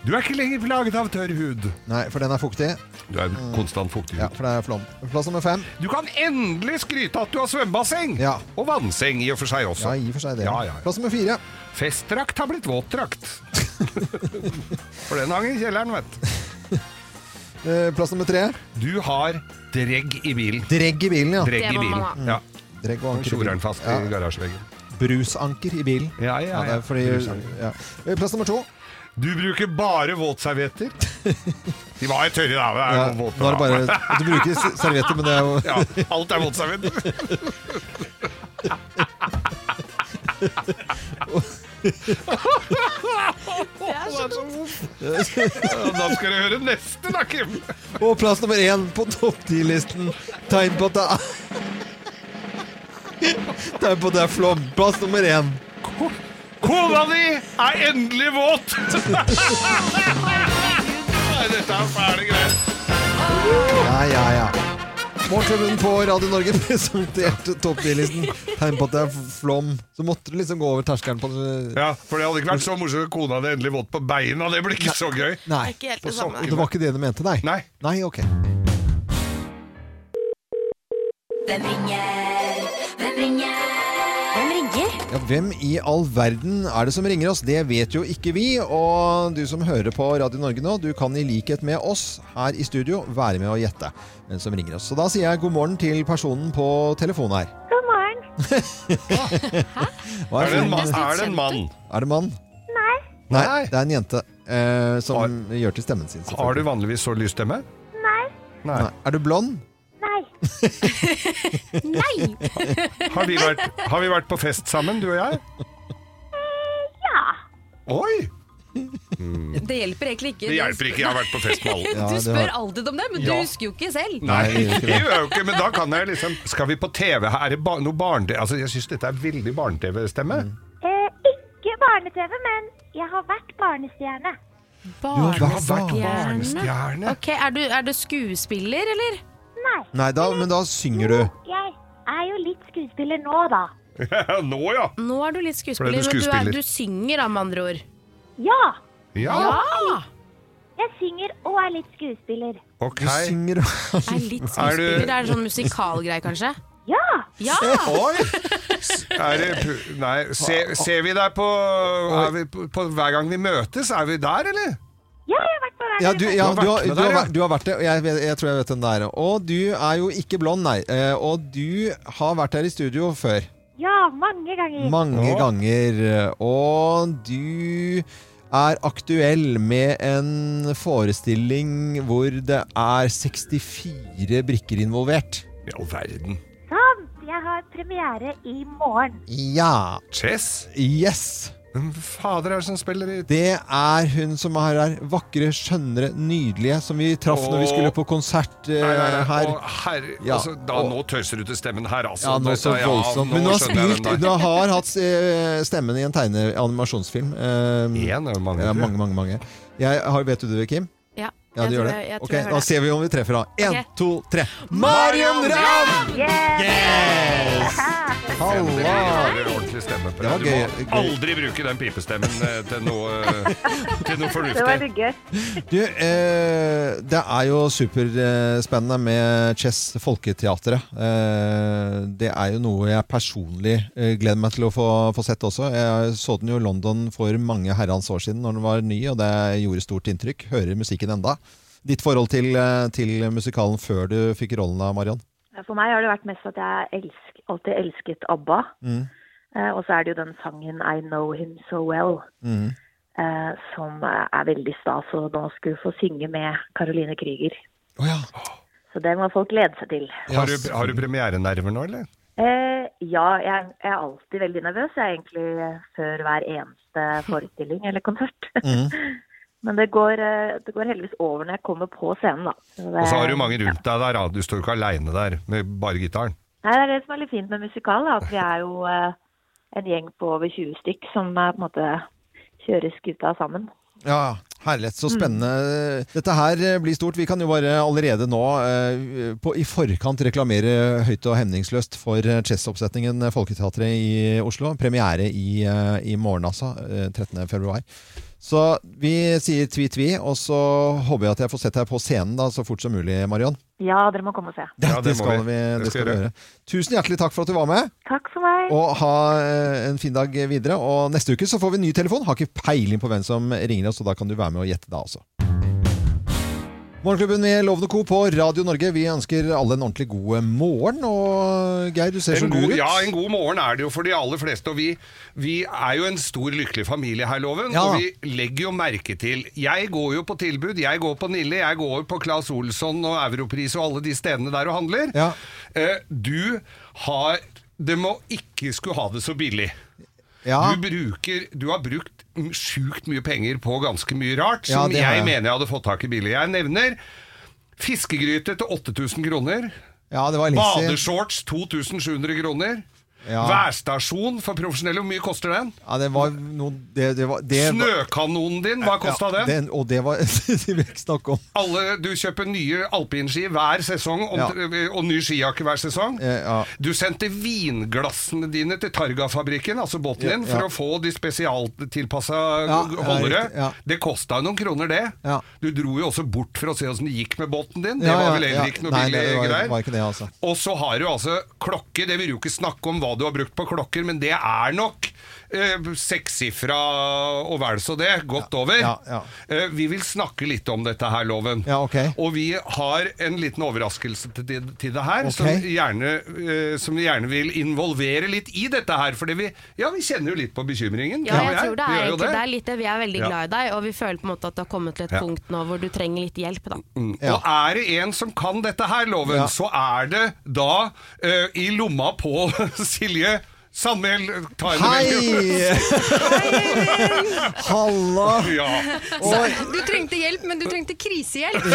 Du er ikke lenger plaget av tørr hud.
Nei, for den er fuktig.
Du er konstant fuktig.
Ja, for det er flom. Plass nummer fem.
Du kan endelig skryte at du har svømmebasseng! Og vannseng i og for seg også.
Ja, i og for seg det.
Ja, ja, ja.
Plass nummer fire.
Festdrakt har blitt våtdrakt. for den hang i kjelleren, vet du.
Eh, Plass nummer tre.
Du har dregg i bilen.
Dregg i bilen, ja.
Dregg i bilen. Ja.
Dregg og anker i
Tjorer den
bilen.
fast
Mm. Ja.
i garasjeveggen.
Brusanker i bilen.
Ja, ja,
det
ja.
er fordi,
Brusanker.
ja. Eh, Plass nummer to.
Du bruker bare våtservietter. De var jo tørre, da. men det er
Ja,
jo våte
nå er det
da.
bare- du bruker s- servietter, men det er jo-
ja, Alt er våtservietter.
Det er så
Ja, da skal du høre neste, da, Kim.
Og plass nummer én på topp ti-listen. Tegn på at det er Tegn på at det er flom. Plass nummer én.
Kona di er endelig våt! Nei, dette er fæle greier.
Ja, ja, ja. Morgenklubben på Radio Norge presenterte topp ti-listen. Tegn på at det er flom. Så måtte du liksom gå over terskelen på
Ja, for det hadde ikke vært så morsomt at kona di endelig våt på beina. Det blir ikke så gøy.
Nei.
Ikke helt
På
det samme.
Og det var ikke det du mente, nei?
Nei.
Nei, ok.
Hvem ringer? Hvem ringer? Hvem ringer?
Ja, Hvem i all verden er det som ringer oss? Det vet jo ikke vi. Og du som hører på Radio Norge nå, du kan i likhet med oss her i studio være med å gjette hvem som ringer oss. Så da sier jeg god morgen til personen på telefonen her.
God morgen.
Hva
Er det en
for-
ma- er det en mann?
Er det mann?
Nei.
Nei, det er en jente eh, som gjør til stemmen sin.
Har du vanligvis så lys stemme?
Nei.
Nei. Er du blond?
Nei. Nei.
Har vi, vært, har vi vært på fest sammen, du og jeg?
Ja.
Oi!
Det hjelper egentlig ikke.
Det hjelper ikke, jeg har vært på fest med alle. Ja,
du
det
spør
har-
alltid om det, men
Ja.
du husker jo ikke selv.
Nei,
det gjør ikke
det gjør jeg jo ikke, men da kan jeg liksom Skal vi på TV? her? Er det ba noe barne-TV? Altså, jeg syns dette er veldig barne-TV-stemme.
Eh, ikke barne-TV, men jeg har vært barnestjerne.
barnestjerne.
Ok, er du, er du skuespiller, eller?
Nei,
Nei, da, men da synger du.
jeg er jo litt skuespiller nå, da.
Nå, ja!
Nå er du litt skuespiller,
Ble du
men
skuespiller?
du, er, du synger da, med andre ord.
Ja!
Ja!
Jeg synger og er litt skuespiller.
Ok.
Du synger og
Er litt skuespiller, det er en sånn musikalgreie, kanskje?
Ja!
Ja!
Oi! Er det pu Nei, se, ser vi deg på, er vi på, på Hver gang vi møtes, er vi der, eller?
Ja, jeg har vært på
Ja, du, ja, du, har, du,
med
har,
der, ja.
vært- du har vært det, og jeg, vet- jeg tror jeg vet hvem det er. Og du er jo ikke blond, nei. Eh, Og du har vært her i studio før.
Ja, mange ganger.
Mange ganger. Og du er aktuell med en forestilling hvor det er 64 brikker involvert.
I all verden.
Sant! Jeg har premiere i morgen.
Ja.
Chess?
Yes.
Hvem fader er det som spiller i
Det er hun som er her. Vakre, skjønnere, nydelige, som vi traff når vi skulle på konsert eh,
Nei, nei, nei,
her.
å, herre-
Ja,
altså, da,
og-
nå tøyser du til stemmen her, altså.
Ja, nå så
Dette- ja,
voldsomt.
nå
Men hun har,
skjønner jeg
spilt,
den
hun
der.
har hatt eh, stemmen i en tegne animasjonsfilm.
Én er jo mange.
Ja,
tror jeg.
mange, mange, mange. Jeg har, vet du det, Kim?
Ja,
Ja,
jeg
du
tror
gjør det?
jeg- jeg tror
Ok,
jeg hører
Da
det.
ser vi om vi treffer, da. Én,
Ok.
to, tre. Marion Ravn!
Yes!
Halla!
Det var en ordentlig stemme på
Det var
deg. Du
gøy-
må aldri bruke den pipestemmen eh, til noe, til noe fornuftig.
gøy.
Du, eh, det er jo superspennende med Chess Folketeatret. Eh, det er jo noe jeg personlig eh, gleder meg til å få, få sett også. Jeg så den jo i London for mange herrens år siden når den var ny, og det gjorde stort inntrykk. Hører musikken enda. Ditt forhold til, eh, til musikalen før du fikk rollen da, Marion?
Eh, For meg har det vært mest at jeg elsk, alltid elsket ABBA.
Mm.
Eh, og så er det jo den sangen I Know Him So Well,
Mm.
eh, som eh, er veldig stas å nå skulle få synge med Caroline Krüger. Så det må folk glede seg til.
Har du, har du premierenerver nå, eller?
Eh, ja, jeg, jeg er alltid veldig nervøs, jeg er egentlig eh, før hver eneste forestilling eller konsert.
Mm.
Men det går, eh, det går heldigvis over når jeg kommer på scenen, da. Så det-
Og så
Eh.
har du mange rundt deg der, da. du står jo ikke aleine der med bare gitaren.
Nei, det er det som er litt fint med musikal, da, at vi er jo eh, en gjeng på over 20 stykk som eh, på en måte kjører skuta sammen.
Ja, herlighet. Så spennende. Dette her eh, blir stort. Vi kan jo bare allerede nå eh, på, i forkant reklamere høyt og hemningsløst for eh, Chess-oppsetningen Folketeatret i Oslo. Premiere i, eh, i morgen, altså. eh, 13. februar. Så vi sier tvi-tvi, og så håper jeg at jeg får sett deg på scenen da, så fort som mulig, Marion.
Ja, dere må komme og se.
Det, det skal vi, det skal vi gjøre. Tusen hjertelig takk for at du var med.
Takk for meg.
Og ha eh, en fin dag videre. Og neste uke så får vi ny telefon. Har ikke peiling på hvem som ringer oss, så da kan du være med og gjette da også. Morgenklubben med Lovende Co. på Radio Norge. Vi ønsker alle en ordentlig god eh, morgen. Og eh, Geir, du ser så
En
lur
god,
ut.
ja, en god morgen er det jo for de aller fleste. Og vi, vi er jo en stor, lykkelig familie her, Loven.
Ja.
Og vi legger jo merke til Jeg går jo på tilbud, jeg går på Nille, jeg går på Claes Olsson og Europris og alle de stedene der og handler. Eh, du har Det må ikke skulle ha det så billig.
Ja.
Du, bruker, du har brukt m- sjukt mye penger på ganske mye rart,
Ja,
som
det har
jeg
jeg.
mener jeg hadde fått tak i billig. Jeg nevner fiskegryte til 8000 kroner.
Ja, det var Lizzie.
Badeshorts 2700 kroner.
Ja.
Værstasjon for profesjonelle, hvor mye koster den?
Ja, det var noe det, det var, det var-
Snøkanonen din, hva kosta
Ja,
den?
Og det var det vil jeg ikke snakke om.
Alle, du kjøper nye alpinski hver sesong, om, og ny skijakke hver sesong.
Eh, ja.
Du sendte vinglassene dine til Targa-fabrikken, altså båten din,
Ja, ja.
for å få de spesialtilpassa
Ja, ja,
holdere.
riktig, ja.
Det kosta noen kroner, det.
Ja.
Du dro jo også bort for å se åssen det gikk med båten din. Det
Ja, ja,
var vel
ja.
heller ikke noe
Nei,
billig
det var-
greier.
var ikke det, altså.
Og så har du altså klokke. Det vil du jo ikke snakke om hva du har brukt på klokker, men det er nok eh, sekssifra og vel så det. Godt over.
ja, ja.
Eh, vi vil snakke litt om dette her, Loven.
Ja, ok.
Og vi har en liten overraskelse til, det- til det her, som,
Ok.
gjerne, eh, som vi gjerne vil involvere litt i dette her. For vi, ja, vi kjenner jo litt på bekymringen.
Ja,
du og
jeg tror det
Vi
er
gjør jo
egentlig det. er litt det. Vi er veldig
Ja.
glad i deg, og vi føler på en måte at det har kommet til et
Ja.
punkt nå hvor du trenger litt hjelp, da.
Mm. Og er det en som kan dette her, loven,
Ja.
så er det da eh, i lomma på Silje Sandmæl. Ta henne
Hei!
velkommen.
Halla!
Ja.
Og-
Så, du trengte hjelp, men du trengte krisehjelp.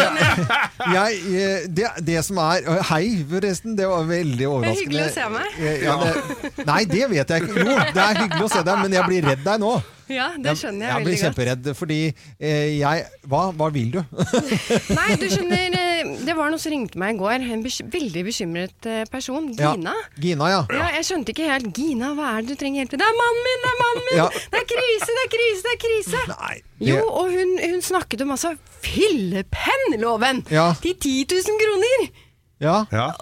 Jeg, eh, det, det som er eh, Hei, forresten. Det var veldig overraskende.
hyggelig å se meg.
Eh, Ja, det, nei, det vet jeg ikke. Jo, det er hyggelig å se deg, men jeg blir redd deg nå.
Ja, det skjønner jeg,
Jeg blir
veldig godt.
kjemperedd, fordi eh, jeg Hva, hva vil du?
Nei, du skjønner, eh, det var noen som ringte meg i går, en bes veldig bekymret eh, person,
Ja.
Gina.
Gina, ja.
Ja, jeg skjønte ikke helt. Gina, hva er det du trenger hjelp til? Det er mannen min, det er mannen min!
Ja.
Det er krise, det er krise, det er krise! Nei,
det-
Jo, og hun, hun snakket om altså fyllepennloven!
Ja.
Til 10 000 kroner!
Ja.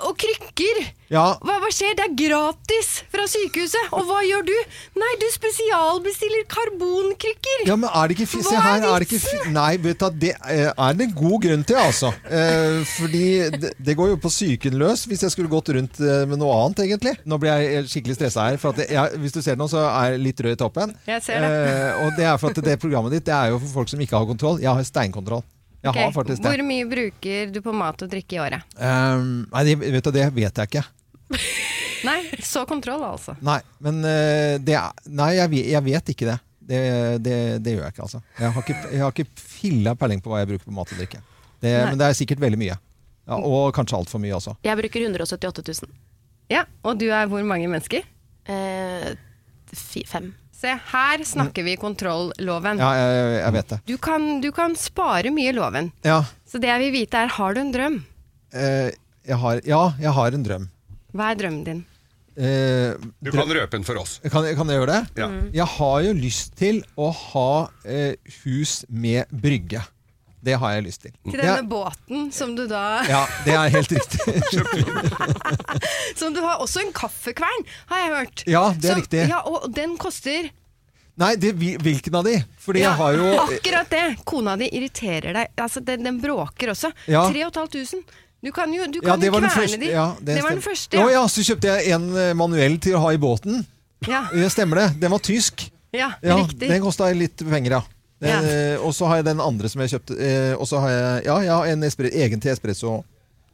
Og krykker!
Ja.
Hva, hva skjer? Det er gratis fra sykehuset! Og hva gjør du? Nei, du spesialbestiller karbonkrykker!
Ja, men er det ikke fi- Se
Hva
her,
er
er det ikke fi- Nei, vet du, hva, det eh, er det en god grunn til, altså. Eh, Fordi det, det går jo på psyken løs hvis jeg skulle gått rundt eh, med noe annet, egentlig. Nå blir jeg eh, skikkelig stressa her, for at jeg, hvis du ser det nå, så er jeg litt rød i toppen.
Jeg ser det.
Eh, Og det er for at det programmet ditt, det er jo for folk som ikke har kontroll. Jeg har steinkontroll. Jeg
Ok,
har faktisk det.
Hvor mye bruker du på mat og drikke i året?
Um, nei, det, vet du, det vet jeg ikke.
Nei, så kontroll altså.
Nei, men eh, det er, Nei, jeg, ve- jeg vet ikke det. Det, det. det gjør jeg ikke, altså. Jeg har ikke, jeg har ikke filla peiling på hva jeg bruker på mat og drikke. Det,
Nei.
men det er sikkert veldig mye. Ja, og kanskje altfor mye også.
Jeg bruker 178 000.
Ja, og du er hvor mange mennesker?
Eh, fem.
Se, her snakker vi kontrolloven.
Ja, jeg, jeg vet det.
Du, kan, du kan spare mye i loven.
Ja,
Så det jeg vil vite er, har du en drøm?
eh, jeg har, ja, jeg har en drøm.
Hva er drømmen din?
Eh,
Du
drøm-
kan røpe den for oss.
Kan, kan jeg gjøre det?
Ja. Mm.
Jeg har jo lyst til å ha eh, hus med brygge. Det har jeg lyst til. Det
Til
er-
denne båten som du da
ja, det er helt riktig.
Som du har også en kaffekvern, har jeg hørt.
Ja, det er
som,
riktig.
Ja, Og den koster
Nei, det, hvil- hvilken av de? Fordi
Ja, Ah,
jeg har jo
Akkurat det! Kona di irriterer deg. Altså, den, den bråker også.
Ja.
3500. Du kan jo, du kan
Ja, det
jo
var den
kverne
første.
de.
Ja,
det, var den
stemmer.
første. Ja.
Å ja, så kjøpte jeg en eh, manuell til å ha i båten.
Ja.
Det stemmer det. Den var tysk.
Ja,
Ja,
riktig.
Den kosta litt penger, ja. Den,
Ja.
eh, Og så har jeg den andre som jeg kjøpte. eh, Og så har jeg ja, jeg har en espre, egen til espresso.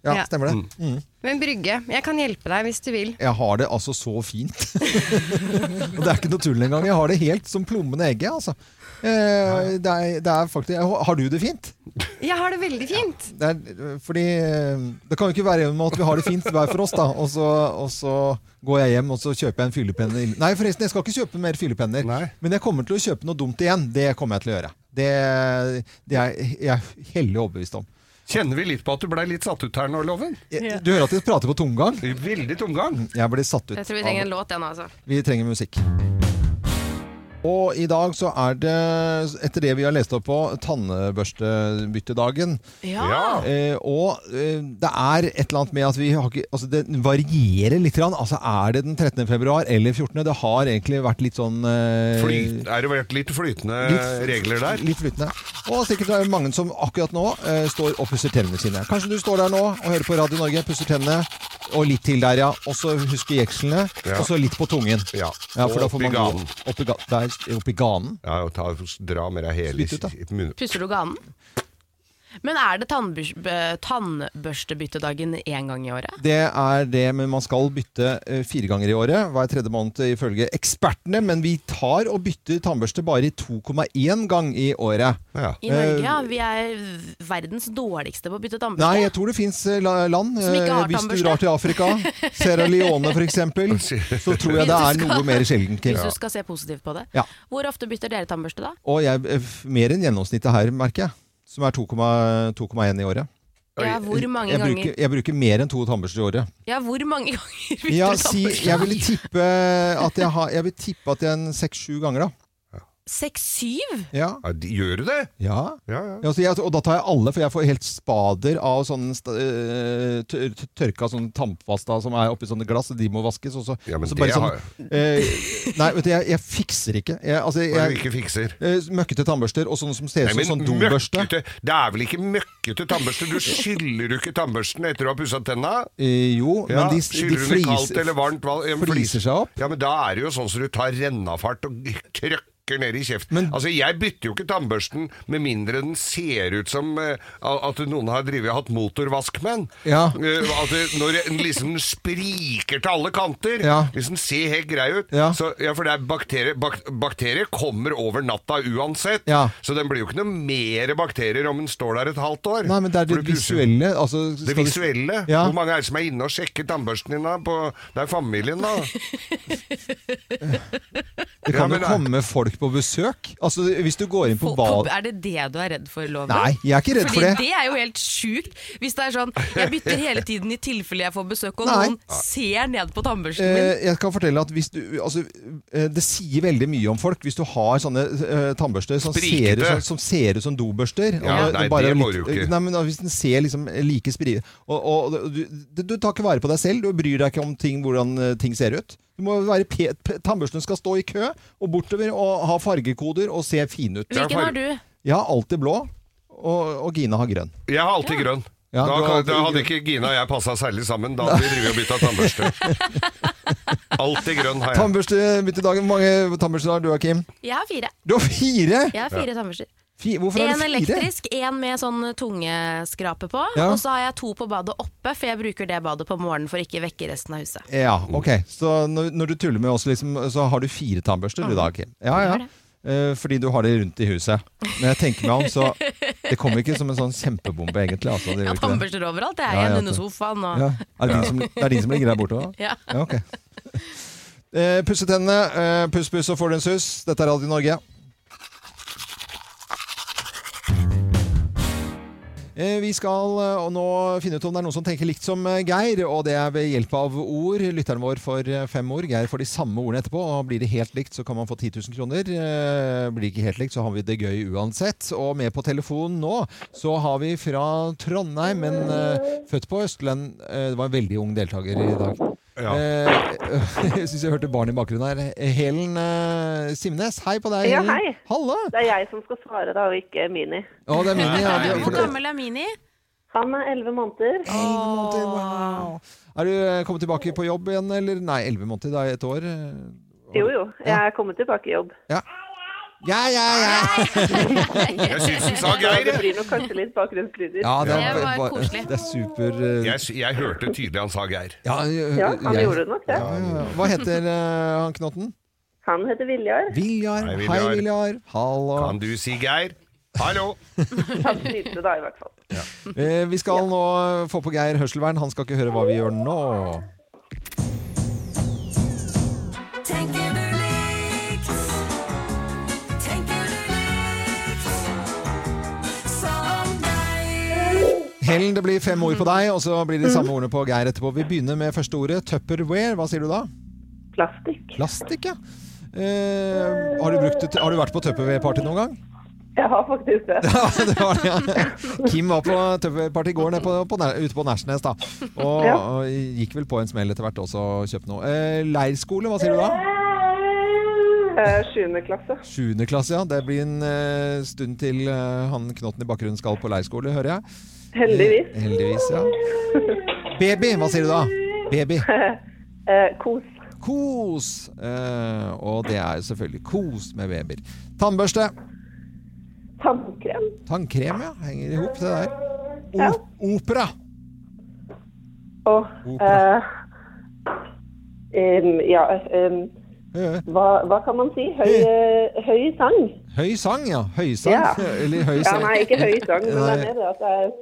Ja,
Ja.
stemmer det. Mm.
Men Brygge, jeg kan hjelpe deg hvis du vil.
Jeg har det altså så fint. og det er ikke noe tull engang. Jeg har det helt som plommen i egget, altså. Eh, det er, det er faktisk, har du det fint?
Jeg har det veldig fint.
Det er, fordi eh, det kan jo ikke være med at vi har det fint hver for oss, da. Og så, og så går jeg hjem og så kjøper jeg en fyllepenne. i- Nei, forresten, jeg skal ikke kjøpe mer fyllepenner. Men jeg kommer til å kjøpe noe dumt igjen. Det kommer jeg til å gjøre. Det, det er jeg hellig overbevist om.
Kjenner vi litt på at du blei litt satt ut her nå, Loven?
Du hører at jeg prater på tomgang?
Veldig tomgang.
Jeg blir satt ut.
Jeg tror vi
av-
trenger en låt, den altså.
Vi trenger musikk. Og i dag så er det, etter det vi har lest opp på, tannbørstebyttedagen.
Ja.
Eh, og eh, det er et eller annet med at vi har ikke Altså, det varierer litt. Grann. Altså, er det den 13. februar eller 14.? Det har egentlig vært litt sånn eh,
Flyt, er det vært litt flytende
Litt-
regler der?
Litt flytende. Og sikkert er det mange som akkurat nå eh, står og pusser tennene sine. Kanskje du står der nå og hører på Radio Norge, pusser tennene, og litt til der, ja. Og så husker jekslene,
Ja.
og så litt på tungen.
Ja,
for
og
da får
opp i
man
ganen.
god- Opp i, ga der, opp i ganen?
Ja, og ta, dra med deg hele
Spytt ut, da.
munnen.
Pusser du ganen? Men er det tannbørs- bø- tannbørstebyttedagen én gang i året?
Det er det, men man skal bytte eh, fire ganger i året. Hver tredje måned ifølge ekspertene. Men vi tar og bytter tannbørste bare i 2,1 gang i året.
Eh,
I Norge, ja. Vi er verdens dårligste på å bytte tannbørste.
Nei, jeg tror det fins land.
Som ikke har
eh, Hvis du
tannbørste.
drar til Afrika, Sierra Leone f.eks., så tror jeg det
Hvis
er
du skal-
noe mer sjeldent.
Hvis du skal se positivt på det.
Ja.
Hvor ofte bytter dere tannbørste da?
Og jeg, eh, f- mer enn gjennomsnittet her, merker jeg. Som er 2,1 i året.
Ja, hvor mange
jeg
ganger?
bruker, jeg bruker mer enn to tannbørster i året.
Ja, hvor mange ganger bytter
Ja,
du
si,
tannbørste?
jeg ville tippe at jeg har Jeg vil tippe at jeg er en seks-sju ganger, da.
Seks-syv?
Ja.
Gjør du det?
Ja.
Ja, ja.
Ja, så jeg, og da tar jeg alle, for jeg får helt spader av sånn st- øh, tør- tør- tørka sånn tannpasta som er oppi sånne glass, og de må vaskes. Og så,
men
og så
det
bare sånn
har
eh, Nei, vet du, jeg, jeg fikser ikke. Jeg, altså,
Hva er det du ikke fikser?
eh, møkkete tannbørster og sånne som
Nei,
ser ut som
men
sånn dobørste.
møkkete- Det er vel ikke møkkete tannbørste? Du skyller jo ikke tannbørsten etter du har pussa tenna?
Eh, jo,
Ja,
men de, de
skyller den i kaldt
fliser,
eller varmt vann? Ja, men
fliser seg opp.
Ja, men da er det jo sånn som du tar rennafart og trøkker ned i kjeften. altså, jeg bytter jo ikke tannbørsten med mindre den ser ut som eh, at noen har drivet og hatt motorvask med den.
Ja.
Eh, at det, når den liksom spriker til alle kanter,
Ja.
hvis den ser helt grei ut,
Ja.
så, ja, for det er bakterier, bak, bakterier kommer over natta uansett,
Ja.
så den blir jo ikke noe mer bakterier om den står der et halvt år.
Nei, men det er det
For du pusser-
visuelle. Altså,
det
skal du-
visuelle.
Ja.
Hvor mange er det som er inne og sjekker tannbørsten din da? På, det er familien, da.
Det kan
Ja, men eh,
jo
det-
komme folk på besøk. Altså, hvis du går inn
På-
på badet
Er det det du er redd for, Loven?
Nei, jeg er ikke redd for
Fordi
det.
det er jo helt sjukt. Hvis det er sånn Jeg bytter hele tiden i tilfelle jeg får besøk, og
Nei.
noen ser ned på tannbørsten min.
Eh, jeg kan fortelle at hvis du, altså, eh, Det sier veldig mye om folk hvis du har sånne eh, tannbørster som
Sprikete.
ser, ut som, som ser ut som dobørster.
Ja,
Og
nei,
bare
det må
litt-
du ikke.
Nei, men da, Hvis den ser liksom like spri... Og, og, og du, du, du tar ikke vare på deg selv. Du bryr deg ikke om ting, hvordan eh, ting ser ut. Du må være pe pe tannbørstene skal stå i kø og bortover og ha fargekoder og se fine ut.
Hvilken har du?
Jeg har alltid blå, og, og Gina har grønn.
Jeg har alltid grønn. da,
Ja, du har
kan-
alltid
da hadde
grønn.
ikke Gina og jeg passa særlig sammen. Da hadde vi drevet og bytta tannbørste. Alltid grønn har jeg.
Tannbørste midt i dagen. Hvor mange tannbørster har du, Kim?
Jeg har fire.
Du har fire!
Jeg har fire tannbørster.
Fi hvorfor har
En
du fire?
elektrisk, en med sånn tungeskrape på.
Ja.
Og så har jeg to på badet oppe, for jeg bruker det badet på morgenen for å ikke vekke resten av huset.
Ja, ok. Så når, når du tuller med oss, liksom, så har du fire tannbørster du da, Kim? Ja, ja. Eh, fordi du har det rundt i huset. Når jeg tenker meg om, så Det kommer ikke som en sånn kjempebombe, egentlig. Altså. Det
Jeg
gjør
har
ikke det.
tannbørster overalt. Jeg
Ja,
er
ja,
igjen
det-
under sofaen og
Ja. Er det, din som, det er din som ligger der borte òg?
Ja.
ja ok. Eh, pusse tennene. eh, puss, puss, så får du en suss. Dette er Radio Norge. Eh, Vi skal eh, og nå finne ut om det er noen som tenker likt som eh, Geir, og det er ved hjelp av ord. Lytteren vår får eh, fem ord, Geir får de samme ordene etterpå, og blir det helt likt så kan man få 10 000 kroner. Eh, Blir det ikke helt likt så har vi det gøy uansett. Og med på telefonen nå så har vi fra Trondheim, men eh, født på Østland. Eh, Det var en veldig ung deltaker i dag.
Ja.
Eh, Jeg syns jeg hørte barn i bakgrunnen her. Helen eh, Simnes, hei på deg.
Ja,
Helen.
hei.
Halla.
Det er jeg som skal svare, da, og ikke Mini.
Å, det er Mini, ja. Du-
Hvor gammel er Mini?
Han er elleve måneder.
Er du eh, kommet tilbake på jobb igjen, eller? Nei, 11 måneder, det er et år. eh,
Jo, jo. Jeg er kommet tilbake i jobb.
Ja. Ja, ja, ja!
Jeg syns hun
Eh,
sa Geir,
Det
jeg.
blir nok kanskje litt bakgrunnslyder.
Ja, det, er, det er super eh,
Jeg, s- jeg hørte tydelig han sa Geir.
ja, eh,
Ja, han
jeg-
gjorde det nok, det.
Ja, ja, ja. Hva heter eh, han knotten?
Han heter Viljar.
Viljar.
Hei,
Hei,
Viljar.
Viljar. Hallo.
Kan du si Geir? Hallo!
Han smilte da, i hvert fall.
Eh, Vi skal nå få på Geir Hørselvern. Han skal ikke høre hva vi gjør nå.
Tenker du likt? Tenker du likt? Som deg?
Helen, det blir fem ord på deg, og så blir det de samme ordene på Geir etterpå. Vi begynner med første ordet. Tupperware. Hva sier du da?
Plastikk.
Plastikk, ja. Eh, har, du brukt, det til- har du vært på tupperware-party noen gang?
Jeg har faktisk det.
Ja, det var det, ja. Kim var på tupperware-party i går nede på, på, Nær- ute på Nærsnes, da. Og,
Ja.
og gikk vel på en smell etter hvert også og kjøpte noe. Eh, leirskole, hva sier du da?
Eh, Sjuende klasse.
Sjuende klasse, ja. Det blir en eh, stund til eh, han knotten i bakgrunnen skal på leirskole, hører jeg.
Heldigvis.
Eh, heldigvis, ja. Baby, hva sier du da? Baby.
Eh, kos.
Kos. Eh, og det er jo selvfølgelig kos med babyer. Tannbørste.
Tannkrem.
Tannkrem, ja. Henger i hop, det der. O Opera.
Og
Opera.
eh, em, Ja em, hva, hva kan man si? Høy, eh, høy sang.
Høy sang, ja. Høysang.
Ja.
Eller høy
Ja,
sang.
nei, ikke høy sang, men det er
Nei.
mer det at det er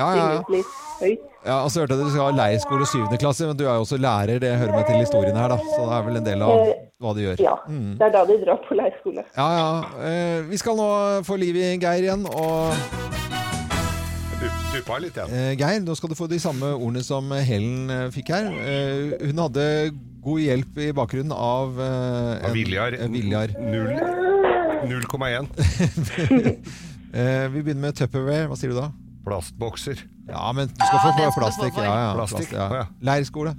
Ja, ja, ja.
synges litt høyt.
ja, og så hørte jeg dere skal ha leirskole syvende klasse, men du er jo også lærer, det hører med til historien her, da. Så det er vel en del av
Eh,
hva du gjør.
Ja.
Mm.
Det er da de drar på leirskole.
Ja, ja. Eh, vi skal nå få liv i Geir igjen, og
Du- Duppa litt, jeg.
Eh, Geir, nå skal du få de samme ordene som Helen eh, fikk her. Eh, hun hadde god hjelp i bakgrunnen av eh,
Av
en-
Viljar.
eh, Viljar.
Null- 0,1.
Eh, vi begynner med Tupperware. Hva sier du da?
Plastbokser.
Ja, men du skal få plastikk. Ja, ja,
Plastikk,
plast,
å
ja.
ja.
Leirskole.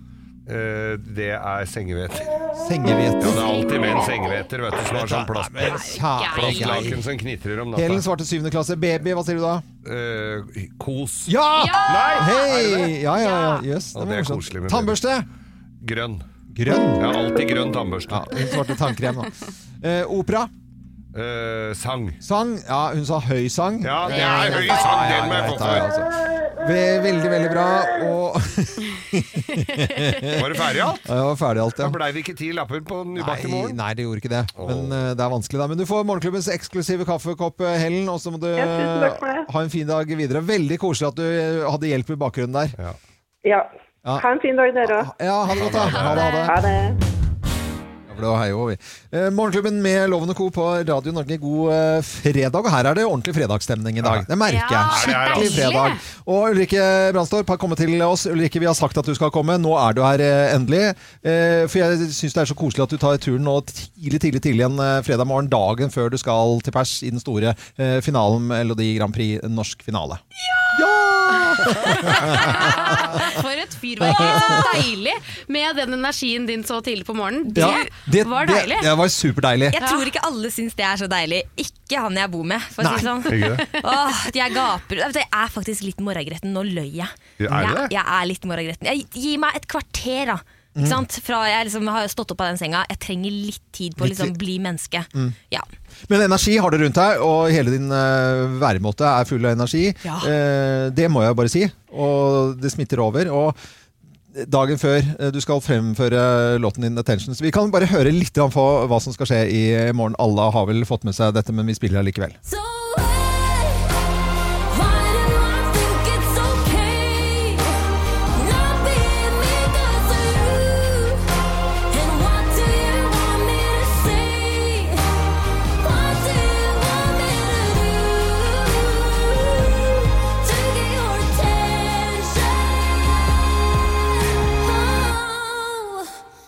Eh, Det er sengehveter.
Sengehveter.
Ja, det er alltid med en sengehveter, vet du, som har sånn plast.
Nei, men kjære Geir.
Plastlaken som knitrer om natta.
Helen svarte syvende klasse. Baby, hva sier du da?
Eh, kos.
Ja!
Nei!
Hei! Ja, ja, ja. Jøss.
Ja, det
det var
er
morsomt.
koselig med baby.
Tannbørste.
Grønn.
Grønn?
Ja, alltid grønn tannbørste.
Hun svarte tannkrem, da. Eh, opera.
Eh, sang.
Sang. Ja, hun sa høy sang.
Ja, det er høy sang,
Ja, ja,
den må jeg
greit,
få
ja,
for.
ja, altså. Ve- Veldig, veldig bra. Og
Var du ferdig alt?
Ja, jeg var ferdig alt, ja.
Da blei det ikke ti lapper på nybakte
Nei,
morgen.
nei, det gjorde ikke det. Men eh, det er vanskelig, da. Men du får morgenklubbens eksklusive kaffekopp, eh, Helen. Og så må du
Ja, tusen takk for det.
eh, ha en fin dag videre. Veldig koselig at du eh, hadde hjelp i bakgrunnen der.
Ja,
Ja.
Ja.
Ha en fin dag, dere òg.
ha det godt, da. Ha det. Ha det.
Ha det.
for det var hei og vi. Eh, morgenklubben med Loven og Co. på Radio Norge, god eh, fredag. Og her er det ordentlig fredagsstemning i dag. Det merker
Ja,
jeg. Skikkelig
det er det.
fredag. Og Ulrikke Brandstorp har kommet til oss. Ulrikke, vi har sagt at du skal komme. Nå er du her eh, endelig. Eh, for jeg syns det er så koselig at du tar turen nå tidlig, tidlig, tidlig en eh, fredag morgen. Dagen før du skal til pers i den store eh, finalen med Melodi Grand Prix, en norsk finale.
For et fyrverkeri. Så deilig med den energien din så tidlig på morgenen. Det,
Ja, det-
var
det-
deilig.
det var superdeilig.
Jeg tror ikke alle syns det er så deilig. Ikke han jeg bor med, for å si det
Nei,
sånn.
ikke det.
Åh, jeg gaper. Vet du, Jeg er faktisk litt morragretten. Nå løy jeg.
Ja, er du
jeg,
det?
jeg er litt morragretten. Jeg, gi meg et kvarter, da. Ikke
Mm.
sant? Fra jeg liksom har stått opp av den senga. Jeg trenger litt tid på å
Litt
liksom
tid.
bli menneske.
Mm.
Ja.
Men energi har du rundt deg, og hele din eh, væremåte er full av energi.
Ja.
Eh, det må jeg bare si, og det smitter over. Og dagen før eh, du skal fremføre låten din 'Attention', så vi kan bare høre litt grann på hva som skal skje i morgen. Alle har vel fått med seg dette, men vi spiller allikevel.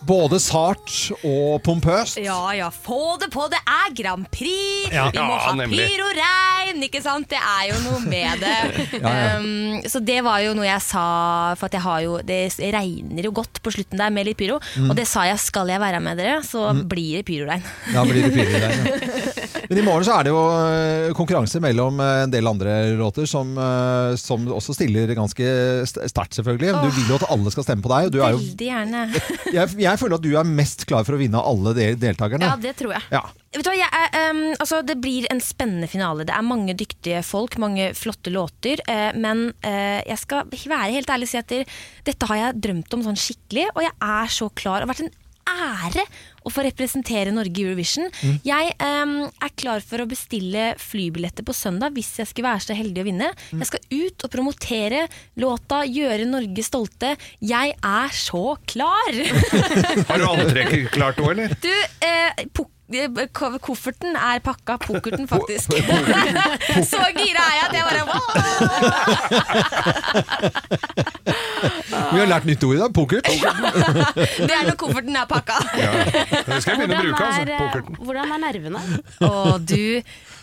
Både sart og pompøst.
ja ja, få det på! Det er Grand Prix!
Ja.
Vi må
Ja,
ha
nemlig.
pyroregn! Ikke sant? Det er jo noe med det.
Ja, ja.
Um, så det var jo noe jeg sa, for at jeg har jo, det regner jo godt på slutten der med litt pyro.
Mm.
Og det sa jeg skal jeg være med dere, så
Mm.
blir det pyroregn.
Ja, blir det pyro der, ja. Men i morgen så er det jo eh, konkurranse mellom eh, en del andre låter som, eh, som også stiller ganske st- sterkt, selvfølgelig. Du vil jo at alle skal stemme på deg. og Du er jo,
Veldig gjerne.
jeg, jeg føler at du er mest klar for å vinne av alle de deltakerne.
Ja, det tror jeg.
Ja.
Vet du hva, jeg er, ehm, altså, det blir en spennende finale. Det er mange dyktige folk, mange flotte låter. eh, men eh, jeg skal være helt ærlig og si at det- dette har jeg drømt om sånn skikkelig, og jeg er så klar. Det har vært en ære å få representere Norge i Eurovision.
Mm.
Jeg ehm, er klar for å bestille flybilletter på søndag hvis jeg skulle være så heldig å vinne.
Mm.
Jeg skal ut og promotere låta, gjøre Norge stolte. Jeg er så klar!
Har du antrekket klart nå, eller?
Du, eh, pok eh, ko- kofferten er pakka, pokerten faktisk. Så gira er jeg at jeg bare wow!
Vi har lært nytt ord i dag. Pukkert.
Det er når kofferten er pakka.
Det skal jeg begynne å bruke,
er,
altså.
eh,
Pokerten.
Hvordan er nervene?
Og du,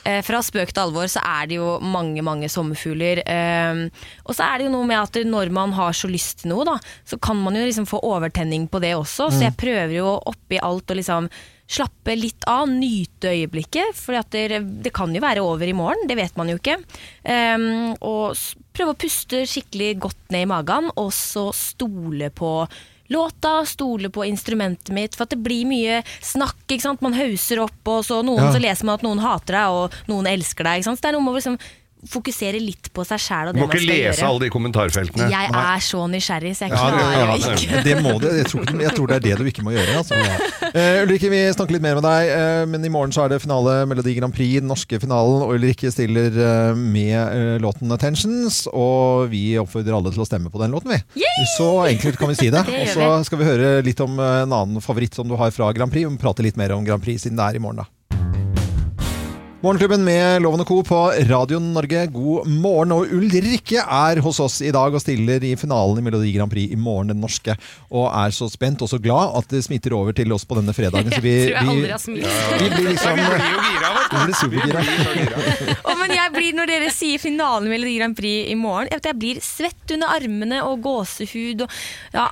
eh, fra spøk til alvor, så er det jo mange, mange sommerfugler. Eh, og så er det jo noe med at når man har så lyst til noe, da, så kan man jo liksom få overtenning på det også.
Mm.
Så jeg prøver jo oppi alt å liksom slappe litt av, nyte øyeblikket. For det, det kan jo være over i morgen, det vet man jo ikke. Eh, og s- prøve å puste skikkelig godt ned i magen, og så stole på låta, stole på instrumentet mitt, for at det blir mye snakk, ikke sant? Man hauser opp, og så noen
Ja.
så leser man at noen hater deg, og noen elsker deg, ikke sant? Så det er noe med å liksom fokusere litt på seg selv og
Du
det
må
man
ikke
skal
lese
gjøre.
alle de kommentarfeltene.
Jeg
Nei.
er så nysgjerrig, så jeg
Ja,
klarer
ja,
jo ikke.
ja, det må du. Jeg tror, jeg tror det er det du ikke må gjøre. Altså. Eh, Ulrikke, vi snakker litt mer med deg, eh, men i morgen så er det finale Melodi Grand Prix, den norske finalen. Og Ulrikke stiller eh, med eh, låten 'Attentions', og vi oppfordrer alle til å stemme på den låten, vi. Så enkelt kan vi si det.
Det
Og
gjør
så
vi.
skal vi høre litt om eh, en annen favoritt som du har fra Grand Prix. Vi må prate litt mer om Grand Prix siden det er i morgen, da. Morgenklubben med Loven og Co. på Radio Norge, god morgen. Og Ulrikke er hos oss i dag og stiller i finalen i Melodi Grand Prix i morgen, den norske. Og er så spent og så glad at det smitter over til oss på denne fredagen. Så vi,
Jeg
vi,
tror jeg aldri har smilt.
vi blir liksom
Ja, vi blir
Vi blir supergira.
Å, men jeg blir, når dere sier finalen i Melodi Grand Prix i morgen, jeg, vet, jeg blir svett under armene og gåsehud og Ja,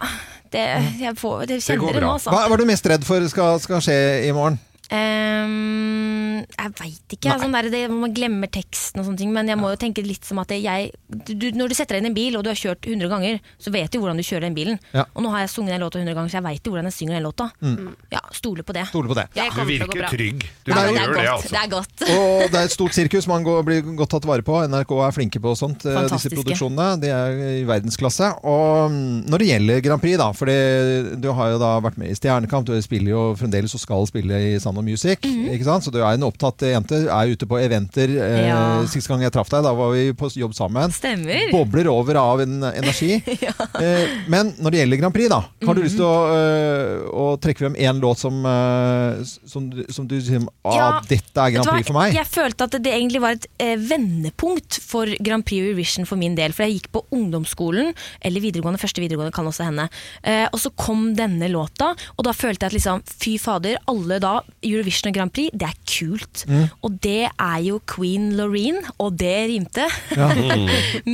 det, jeg får, det kjenner dere nå, altså.
Hva var du mest redd for skal, skal skje i morgen?
Ehm, jeg veit ikke. Sånn der, det, man glemmer teksten og sånne ting. Men jeg må jo tenke litt som at jeg du, du- Når du setter deg inn i en bil, og du har kjørt 100 ganger, så vet du hvordan du kjører den bilen.
Ja.
Og nå har jeg sunget den låta 100 ganger, så jeg veit jo hvordan jeg synger den låta.
Mm.
Ja, stole på det.
Stole på det.
Ja.
Du virker trygg. Du
Nei, det, er godt,
gjør det,
det,
altså.
er godt.
Og det er et stort sirkus. Man går, blir godt tatt vare på. NRK er flinke på sånt. eh, Disse
Fantastiske.
produksjonene. De er i verdensklasse. Og mm, når det gjelder Grand Prix, da, for det- du har jo da vært med i Stjernekamp, du spiller jo fremdeles og skal spille i Sound of Music,
Mhm.
ikke sant? så du er en opptatt jente, er ute på eventer. Eh,
Ja.
Sist gang jeg traff deg, da var vi på jobb sammen.
Stemmer.
Bobler over av en energi. eh, men når det gjelder Grand Prix, da, har
Mhm.
du lyst til å, eh, å trekke frem én låt som, eh, som, du- som du sier ah,
Ja,
dette er
Vet
Grand
du hva?
Prix for meg?
Jeg følte at det egentlig var et eh, vendepunkt for Grand Prix og Eurovision for min del. For jeg gikk på ungdomsskolen, eller videregående, første videregående kan også hende. Eh, og så kom denne låta, og da følte jeg at liksom, fy fader, alle da, Eurovision og Grand Prix, det er kult.
Mm.
Og det er jo Queen Loreen, og det rimte,
Ja. Mm.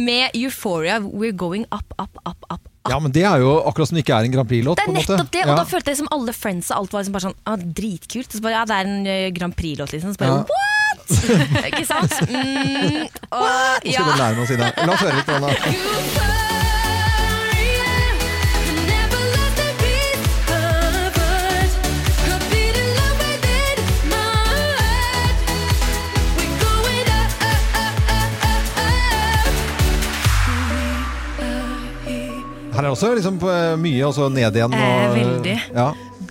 med Euphoria, We're Going Up, Up, Up, Up.
Ja, men det er jo akkurat som det ikke er en Grand Prix-låt.
Det
på
er
en måte.
nettopp det, og
Ja.
da følte jeg som alle friends og alt var liksom bare sånn ah, dritkult. Og Så bare, ja, det er en eh, Grand Prix-låt, liksom. Så bare,
Ja.
what?! Ikke sant? Mm, og, ja.
Nå skal vi lære meg å si det. La oss høre litt. Anna. Her er også liksom eh, mye, og så ned igjen.
Eh,
Og,
veldig.
Ja.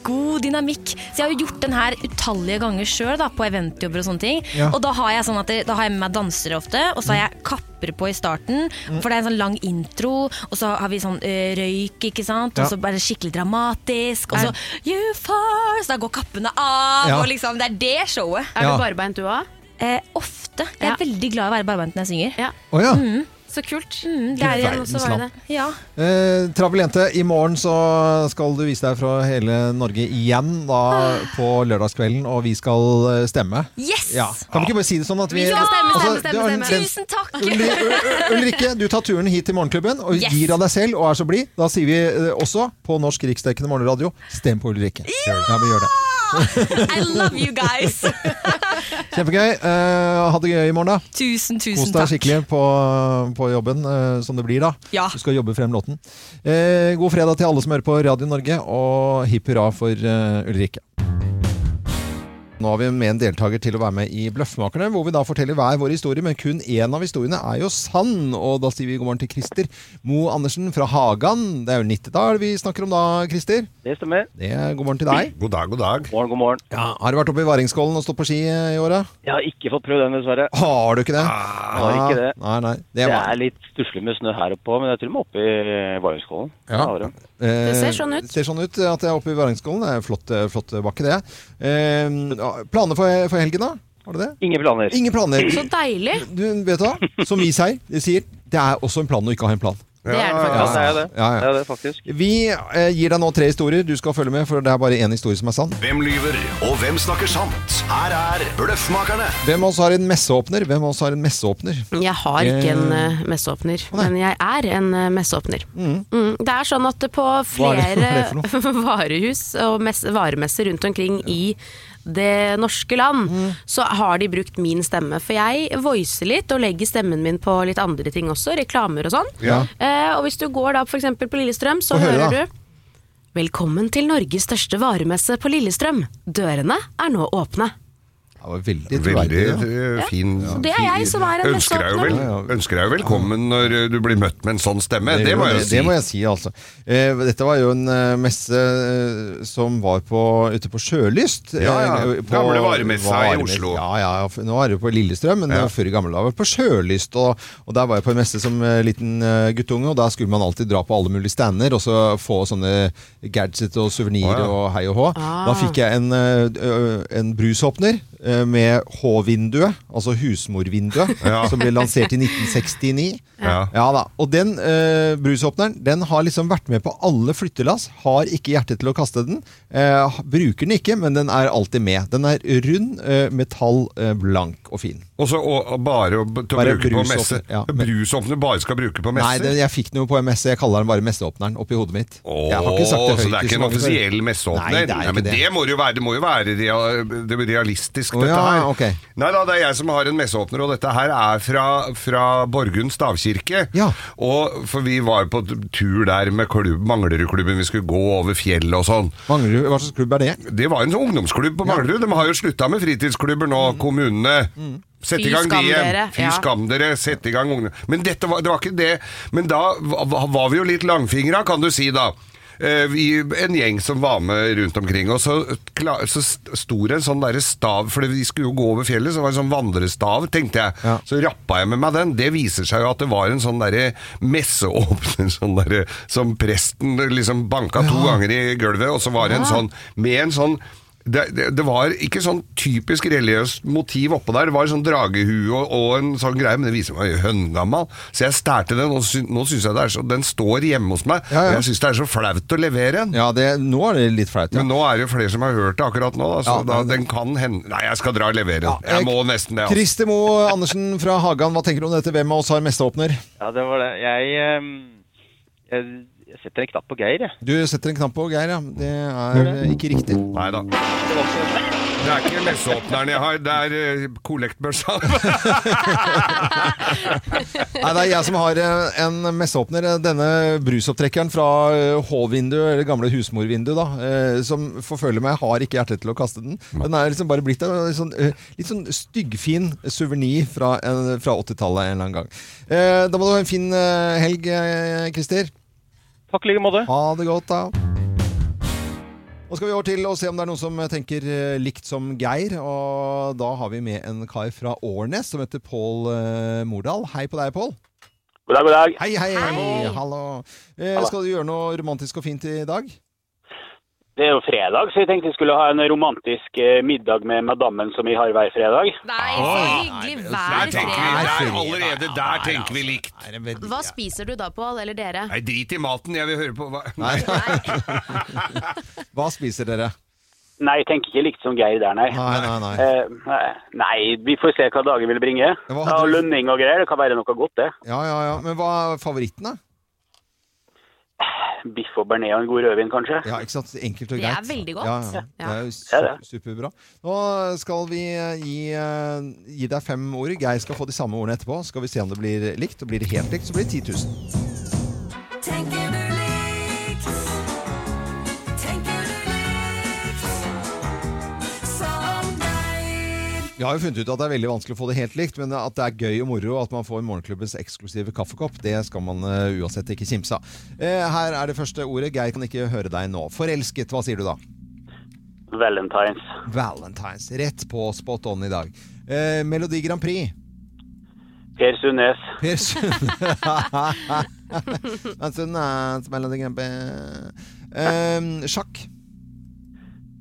God dynamikk. Så jeg har jo gjort den her utallige ganger sjøl, på eventjobber og sånne ting.
Ja.
Og da har jeg sånn at det, da har jeg med meg dansere ofte, og så har jeg kapper på i starten.
Mm.
For det er en sånn lang intro, og så har vi sånn eh, røyk, ikke sant.
Ja.
Og så bare skikkelig dramatisk, og så You first! Da går kappene av,
Ja.
og liksom Det er det showet.
Er du barbeint du òg?
Eh, ofte. Jeg er veldig glad i å være barbeint når jeg synger.
Å ja.
Mm.
Så kult.
Mm, det er igjen
Verdens
også var det.
land.
Ja.
Eh, Travel jente, i morgen så skal du vise deg fra hele Norge igjen da, på lørdagskvelden, og vi skal eh, stemme.
Ah. Yes!
Ja. Kan vi ikke bare si det sånn at vi
Vi skal stemme, stemme,
Altså,
stemme,
du har en
stemme.
tendens-
Tusen takk!
Ulri- Ulrikke, du tar turen hit til Morgenklubben og
Yes.
gir av deg selv og er så blid. Da sier vi eh, også på Norsk Riksdekkende Morgenradio stem på Ulrikke. Ja! vi gjør det.
I love you guys!
Kjempegøy. Eh, ha det gøy i morgen, da.
Tusen, tusen
Kos deg
takk.
skikkelig på, på jobben, eh, som det blir da.
Ja.
Du skal jobbe frem låten. Eh, god fredag til alle som hører på Radio Norge, og hipp hurra for eh, Ulrikke. Nå har vi med en deltaker til å være med i Bløffmakerne, hvor vi da forteller hver vår historie, men kun én av historiene er jo sann. Og da sier vi god morgen til Christer Mo Andersen fra Hagan. Det er jo Nittedal vi snakker om da, Christer.
Det stemmer.
Det er God morgen til deg.
God dag, god dag.
Morgen, god morgen.
Ja, har du vært oppe i Varingskollen og stått på ski eh, i året?
Jeg har ikke fått prøvd den, dessverre.
Har du ikke det?
Jeg har
Ah.
ikke det.
Nei, nei.
Det,
Det var...
er litt stusslig med snø her oppe òg, men jeg tror de er oppe i eh, Varingskollen.
Ja.
Det har de.
Eh,
Det ser sånn ut.
Det ser sånn ut at jeg er oppe i Varingskollen. Det er en flott, flott bakke, det. Eh, ja, planer for, for helgen, da? Har du det?
Ingen planer.
Ingen planer.
Så deilig.
Du vet hva? Som vi sier, de sier det er også en plan å ikke ha en plan.
Det er det faktisk.
Ja, det er det. Det er det faktisk.
Vi eh, gir deg nå tre historier. Du skal følge med, for det er bare én historie som er sann.
Hvem lyver, og hvem snakker sant? Her er Bløffmakerne.
Hvem av oss har en messeåpner? Hvem av oss har en messeåpner?
Jeg har ikke en
Eh,
eh, messeåpner, men jeg er en eh, messeåpner. Mm, det er sånn at på
Hva er det-
flere
hva er det
varehus og mess, varemesser rundt omkring i det norske land,
Mm.
så har de brukt min stemme. For jeg voicer litt og legger stemmen min på litt andre ting også, reklamer og sånn.
Ja.
Eh, og hvis du går da f.eks. på Lillestrøm, så
Få høre,
hører
da.
du Velkommen til Norges største varemesse på Lillestrøm. Dørene er nå åpne.
Det var veldig
Veldig
troverdig. da.
eh, fin
Så det er jeg som er en
Ønsker deg jo vel,
messeåpner.
ønsker deg jo velkommen når eh, du blir møtt med en sånn stemme. Det må jeg jo
Det må
si.
jeg si, altså. Eh, dette var jo en eh, messe eh, som var på, ute på Sjølyst. eh,
Ja, ja.
på-
Gamle varemessa i Oslo.
Ja, ja. f- Nå er det jo på Lillestrøm, men det var før i gamle dager på Sjølyst. Og, og der var jeg på en messe som eh, liten eh, guttunge, og der skulle man alltid dra på alle mulige stander og så få sånne gadgets og suvenirer
Å, ja.
og hei og hå.
Ah.
Da fikk jeg en, eh, ø- en brusåpner eh, med H-vinduet, altså husmorvinduet,
Ja.
som ble lansert i 1969.
Ja.
Ja da. Og den eh, brusåpneren den har liksom vært med på alle flyttelass. Har ikke hjerte til å kaste den. eh, bruker den ikke, men den er alltid med. Den er rund, eh, metall, eh, blank og fin.
Og så og- og bare å til å
Bare
bruke på
brusåpner,
messe.
ja.
Brusåpner du bare skal bruke på
Nei,
messer?
den, jeg fikk den jo på en messe. Jeg kaller den bare messeåpneren oppi hodet mitt. jeg har ikke sagt
Åh, så
det høyt.
det er
til
ikke en
mange før.
offisiell messeåpner?
Nei, det
Nei,
er ikke
men
det.
det må jo være, det må jo være rea- det er realistisk,
Å,
dette
ja,
her.
ok.
Nei da, det er jeg som har en messeåpner, og dette her er fra, fra Borgund stavkirke. Og for vi var på t- tur der med klubb, Manglerudklubben, vi skulle gå over fjellet og sånn.
Manglerud, Hva slags klubb er det?
Det var en sånn ungdomsklubb på Manglerud. De har jo slutta med fritidsklubber nå, kommunene. Sett
Mm. Fy
i gang de
skam
igjen.
dere,
Fy
ja.
skam dere. Sett i gang ungdom... Men dette var, det var ikke det. Men da va- var vi jo litt langfingra, kan du si da. Eh, Vi, en gjeng som var med rundt omkring. Og så, kla- så st- sto det en sånn derre stav, for vi skulle jo gå over fjellet, så det var en sånn vandrestav, tenkte jeg. Så rappa jeg med meg den. Det viser seg jo at det var en sånn derre messeåpner sånn derre, som presten liksom banka to ganger i gulvet, og så var det en sånn med en sånn det, det, det var ikke sånn typisk religiøst motiv oppå der. Det var sånn dragehue og, og en sånn greie, men det viser meg høngammal. Så jeg stærte den, og sy, nå syns jeg det er så Den står hjemme hos meg,
Ja, ja.
og jeg syns det er så flaut å levere den.
Ja, det, nå er det litt flaut.
Men nå er det jo flere som har hørt det akkurat nå, da, så
Ja,
da,
men-
den kan hende Nei, jeg skal dra og levere den.
eh,
Jeg må nesten det. altså.
Christer Moe Andersen fra Hagan, hva tenker du om dette? Hvem av oss har messeåpner?
Ja, det var det. Jeg, ehm, jeg jeg setter en knapp på Geir, jeg.
Du setter en knapp på Geir, ja. Det er eh, ikke riktig.
Nei da. Det er ikke messeåpneren jeg har, det er eh, kollektbørsa.
Nei, det er jeg som har eh, en messeåpner. eh, Denne brusopptrekkeren fra eh, H-vinduet, eller gamle husmorvinduet, da, eh, som forfølger meg. Har ikke hjerte til å kaste den. Den er liksom bare blitt en sånn, eh, litt sånn styggfin suvenir fra, en- fra 80-tallet en eller annen gang. Eh, Da må du ha en fin eh, helg, eh, Christer.
Takk i like måte.
Ha det godt, da. Nå skal vi over til å se om det er noen som tenker eh, likt som Geir. Og da har vi med en kar fra Årnes som heter Pål eh, Mordal. Hei på deg, Pål.
God dag, god dag.
Hei, hei. hei. Hallo. Eh,
Hallo.
skal du gjøre noe romantisk og fint i dag?
Det er jo fredag, så jeg tenkte jeg skulle ha en romantisk eh, middag med madammen som vi har hver fredag.
Nei, så hyggelig hver
Der,
fredag.
allerede der tenker vi likt.
Hva spiser du da, Pål? Eller dere?
Nei, drit i maten, jeg vil høre på hva
Nei. Hva spiser dere?
Nei, jeg tenker ikke likt som Geir der, nei.
Nei, nei, nei.
Eh, nei, nei, vi får se hva dagen vil bringe.
Hva
Ja,
hadde du-
lønning og greier, det kan være noe godt det.
Ja, ja, ja. Men hva er favoritten, da?
Biff og bearnés og en god rødvin, kanskje.
Ja, ikke sant? Enkelt og
Det er
greit.
veldig godt.
Ja, ja.
Ja.
Det er jo
Det er
su- superbra. Nå skal vi gi, eh, gi deg fem ord. Geir skal få de samme ordene etterpå. Skal vi se om det blir likt. Og blir det helt likt, så blir det 10 000.
Tenker du likt? Tenker du likt? Som deg?
Jeg har jo funnet ut at det er veldig vanskelig å få det helt likt, men at det er gøy og moro at man får morgenklubbens eksklusive kaffekopp, det skal man eh, uansett ikke kimse av. Eh, her er det første ordet. Geir kan ikke høre deg nå. Forelsket, hva sier du da?
Valentines.
Valentines. Rett på spot on i dag. Eh, Melodi Grand Prix.
Per Sundnes.
Per Sundnes. Melodi Grand Prix. Eh, sjakk.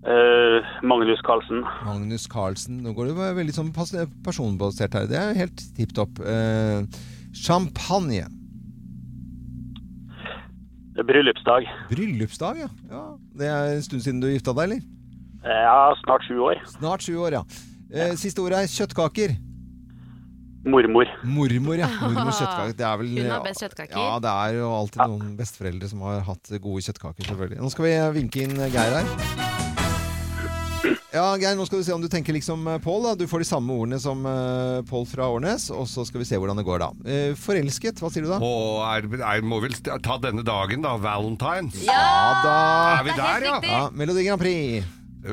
Eh, Magnus Carlsen.
Magnus Carlsen. Nå går det jo veldig sånn pas- Ehm, personbasert her. Det er jo helt tipp topp. Eh, champagne.
Bryllupsdag.
Bryllupsdag, ja. ja. Det er en stund siden du gifta deg, eller?
Eh, Ja, snart sju år.
Snart sju år, ja. Eh, Siste ordet er kjøttkaker.
Mormor.
Mormor, ja. Mormor kjøttkaker. Det er vel,
Hun har best kjøttkaker.
Ja, det er jo alltid noen besteforeldre som har hatt gode kjøttkaker, selvfølgelig. Nå skal vi vinke inn eh, Geir her. Ja, Geir, nå skal vi se om du tenker liksom eh, Pål. da. Du får de samme ordene som eh, Pål fra Årnes, og så skal vi se hvordan det går da. Eh, Forelsket, hva sier du da?
Og er, er, må vel ta denne dagen, da. Valentines.
Ja, da
Er vi Det er der, helt ja? riktig.
ja? Melodi Grand Prix.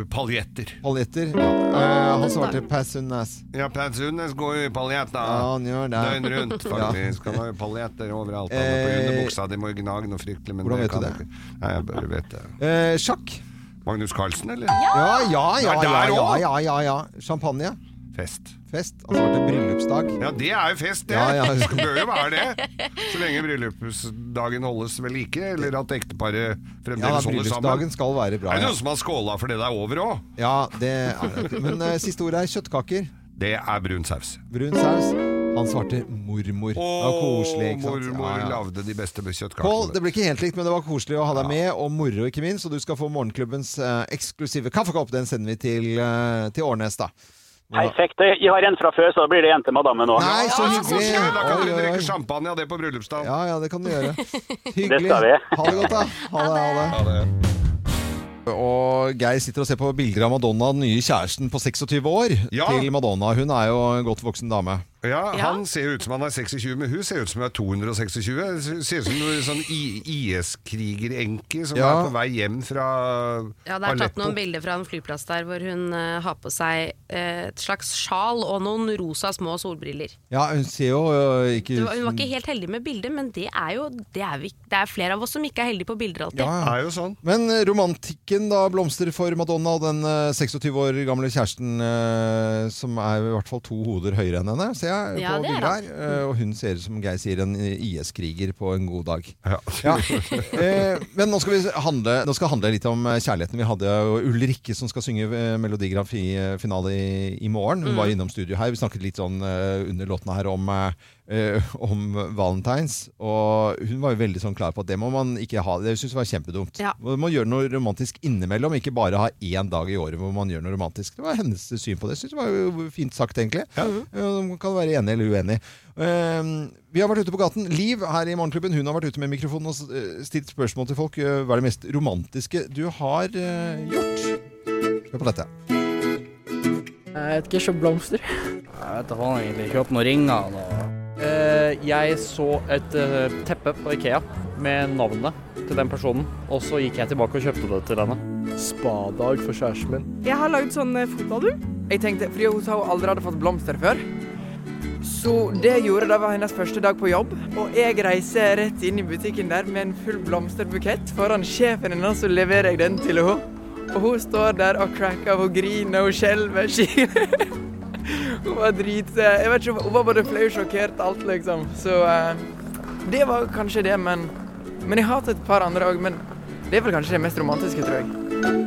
Paljetter.
Paljetter. Ja. Eh, han svarte Passunas.
Ja, Pansunes går jo i paljett, da.
Ja, han gjør det.
Døgn rundt, faktisk.
Ja.
Kan være paljetter overalt. Eh. På grunn av buksa, de må jo gnage noe fryktelig. Men
Hvordan vet
kan
du det?
jeg ikke. Nei, jeg bare vet det.
Eh, sjakk.
Magnus Carlsen, eller?
Ja, ja, ja.
Der
ja, ja,
også.
ja, ja, ja. Champagne.
Fest.
Fest. Han svarte bryllupsdag.
Ja, det er jo fest, det.
Ja, ja.
Det bør jo være det. Så lenge bryllupsdagen holdes ved like, eller at ekteparet
Ja,
fremdeles holder sammen.
bryllupsdagen skal være bra.
er det
ja.
noen som har skåla for det der over òg?
Ja, det er det. Men eh, siste ordet er kjøttkaker.
Det er brun saus.
Brun saus. Han svarte mormor. Det var koselig, ikke sant?
Mormor
Ja, ja.
lagde de beste kjøttkakene.
Pål, det blir ikke helt likt, men det var koselig å ha deg med, og moro ikke minst. Og du skal få morgenklubbens eh, eksklusive kaffekopp. Den sender vi til, eh, til Årnes, da.
Perfekt. Jeg har en fra før, så da blir det en til madammen nå.
Nei,
Ja,
så
sånn,
hyggelig!
koselig. Da kan
sånn. Oi,
du
oi, oi.
drikke champagne av det på bryllupsdagen.
Ja, ja, det kan du gjøre.
Det
Hyggelig.
skal vi.
Ha det godt, da. Ha det, ha det. Og Geir sitter og ser på bilder av Madonna, den nye kjæresten på 26 år,
Ja.
til Madonna. Hun er jo en godt voksen dame.
Ja, Han ser ut som han er 26, men hun ser ut som hun er 226. Hun Ser ut som en sånn I- IS-krigerenke som
Ja.
er på vei hjem fra
Ja, det er tatt
Aleppo.
noen bilder fra en flyplass der hvor hun eh, har på seg eh, et slags sjal og noen rosa små solbriller.
Ja, hun ser jo ø, ikke
Det
ut
var, hun var
som-
ikke helt heldig med bildet, men det er jo det er, vi, det er flere av oss som ikke er heldige på bilder alltid.
ja, ja.
jo sånn.
Men ø, romantikken da blomstrer for Madonna og den ø, 26 år gamle kjæresten ø, som er i hvert fall to hoder høyere enn henne, ser jeg
Ja,
på
det er
bildet
han.
her. Ø, Og hun ser ut som Geir sier, en øh, IS-kriger på en god dag. Ja. Eh, Men nå skal vi handle, nå skal handle litt om ø, kjærligheten. Vi hadde jo Ulrikke som skal synge eh, ø, Melodi Grand Prix-finale i, i morgen. Hun
Mm.
var innom studio her. Vi snakket litt sånn ø, under låtene her om ø, ø, om valentines, og hun var jo veldig sånn klar på at det må man ikke ha. Det syns jeg var kjempedumt.
Ja.
Man må gjøre noe romantisk innimellom, ikke bare ha én dag i året hvor man gjør noe romantisk. Det var hennes syn på det. Synes det var jo fint sagt, egentlig. Eh, Man kan være enig eller uenig. Eh, vi har vært ute på gaten. Liv her i Morgenklubben hun har vært ute med mikrofonen og s- eh, stilt spørsmål til folk. eh, Hva er det mest romantiske du har eh, gjort? Hør på dette.
Jeg vet ikke, kjøp blomster. Jeg vet da faen egentlig. Kjøp noen ringer. Eh, jeg så et eh, teppe på Ikea med navnet til den personen, og så gikk jeg tilbake og kjøpte det til henne. Spadag for kjæresten min.
Jeg har lagd sånn eh, fotoalbum. Jeg tenkte, fordi hun sa hun aldri hadde fått blomster før. Så det jeg gjorde, det var hennes første dag på jobb. Og jeg reiser rett inn i butikken der med en full blomsterbukett foran sjefen hennes, så leverer jeg den til henne. Og hun står der og cracker, hun griner, hun skjelver. hun var drit... Jeg vet ikke, hun var både flau, sjokkert, alt liksom. Så eh, det var kanskje det, men... Men jeg har hatt et par andre òg, men det er vel kanskje det mest romantiske, tror jeg.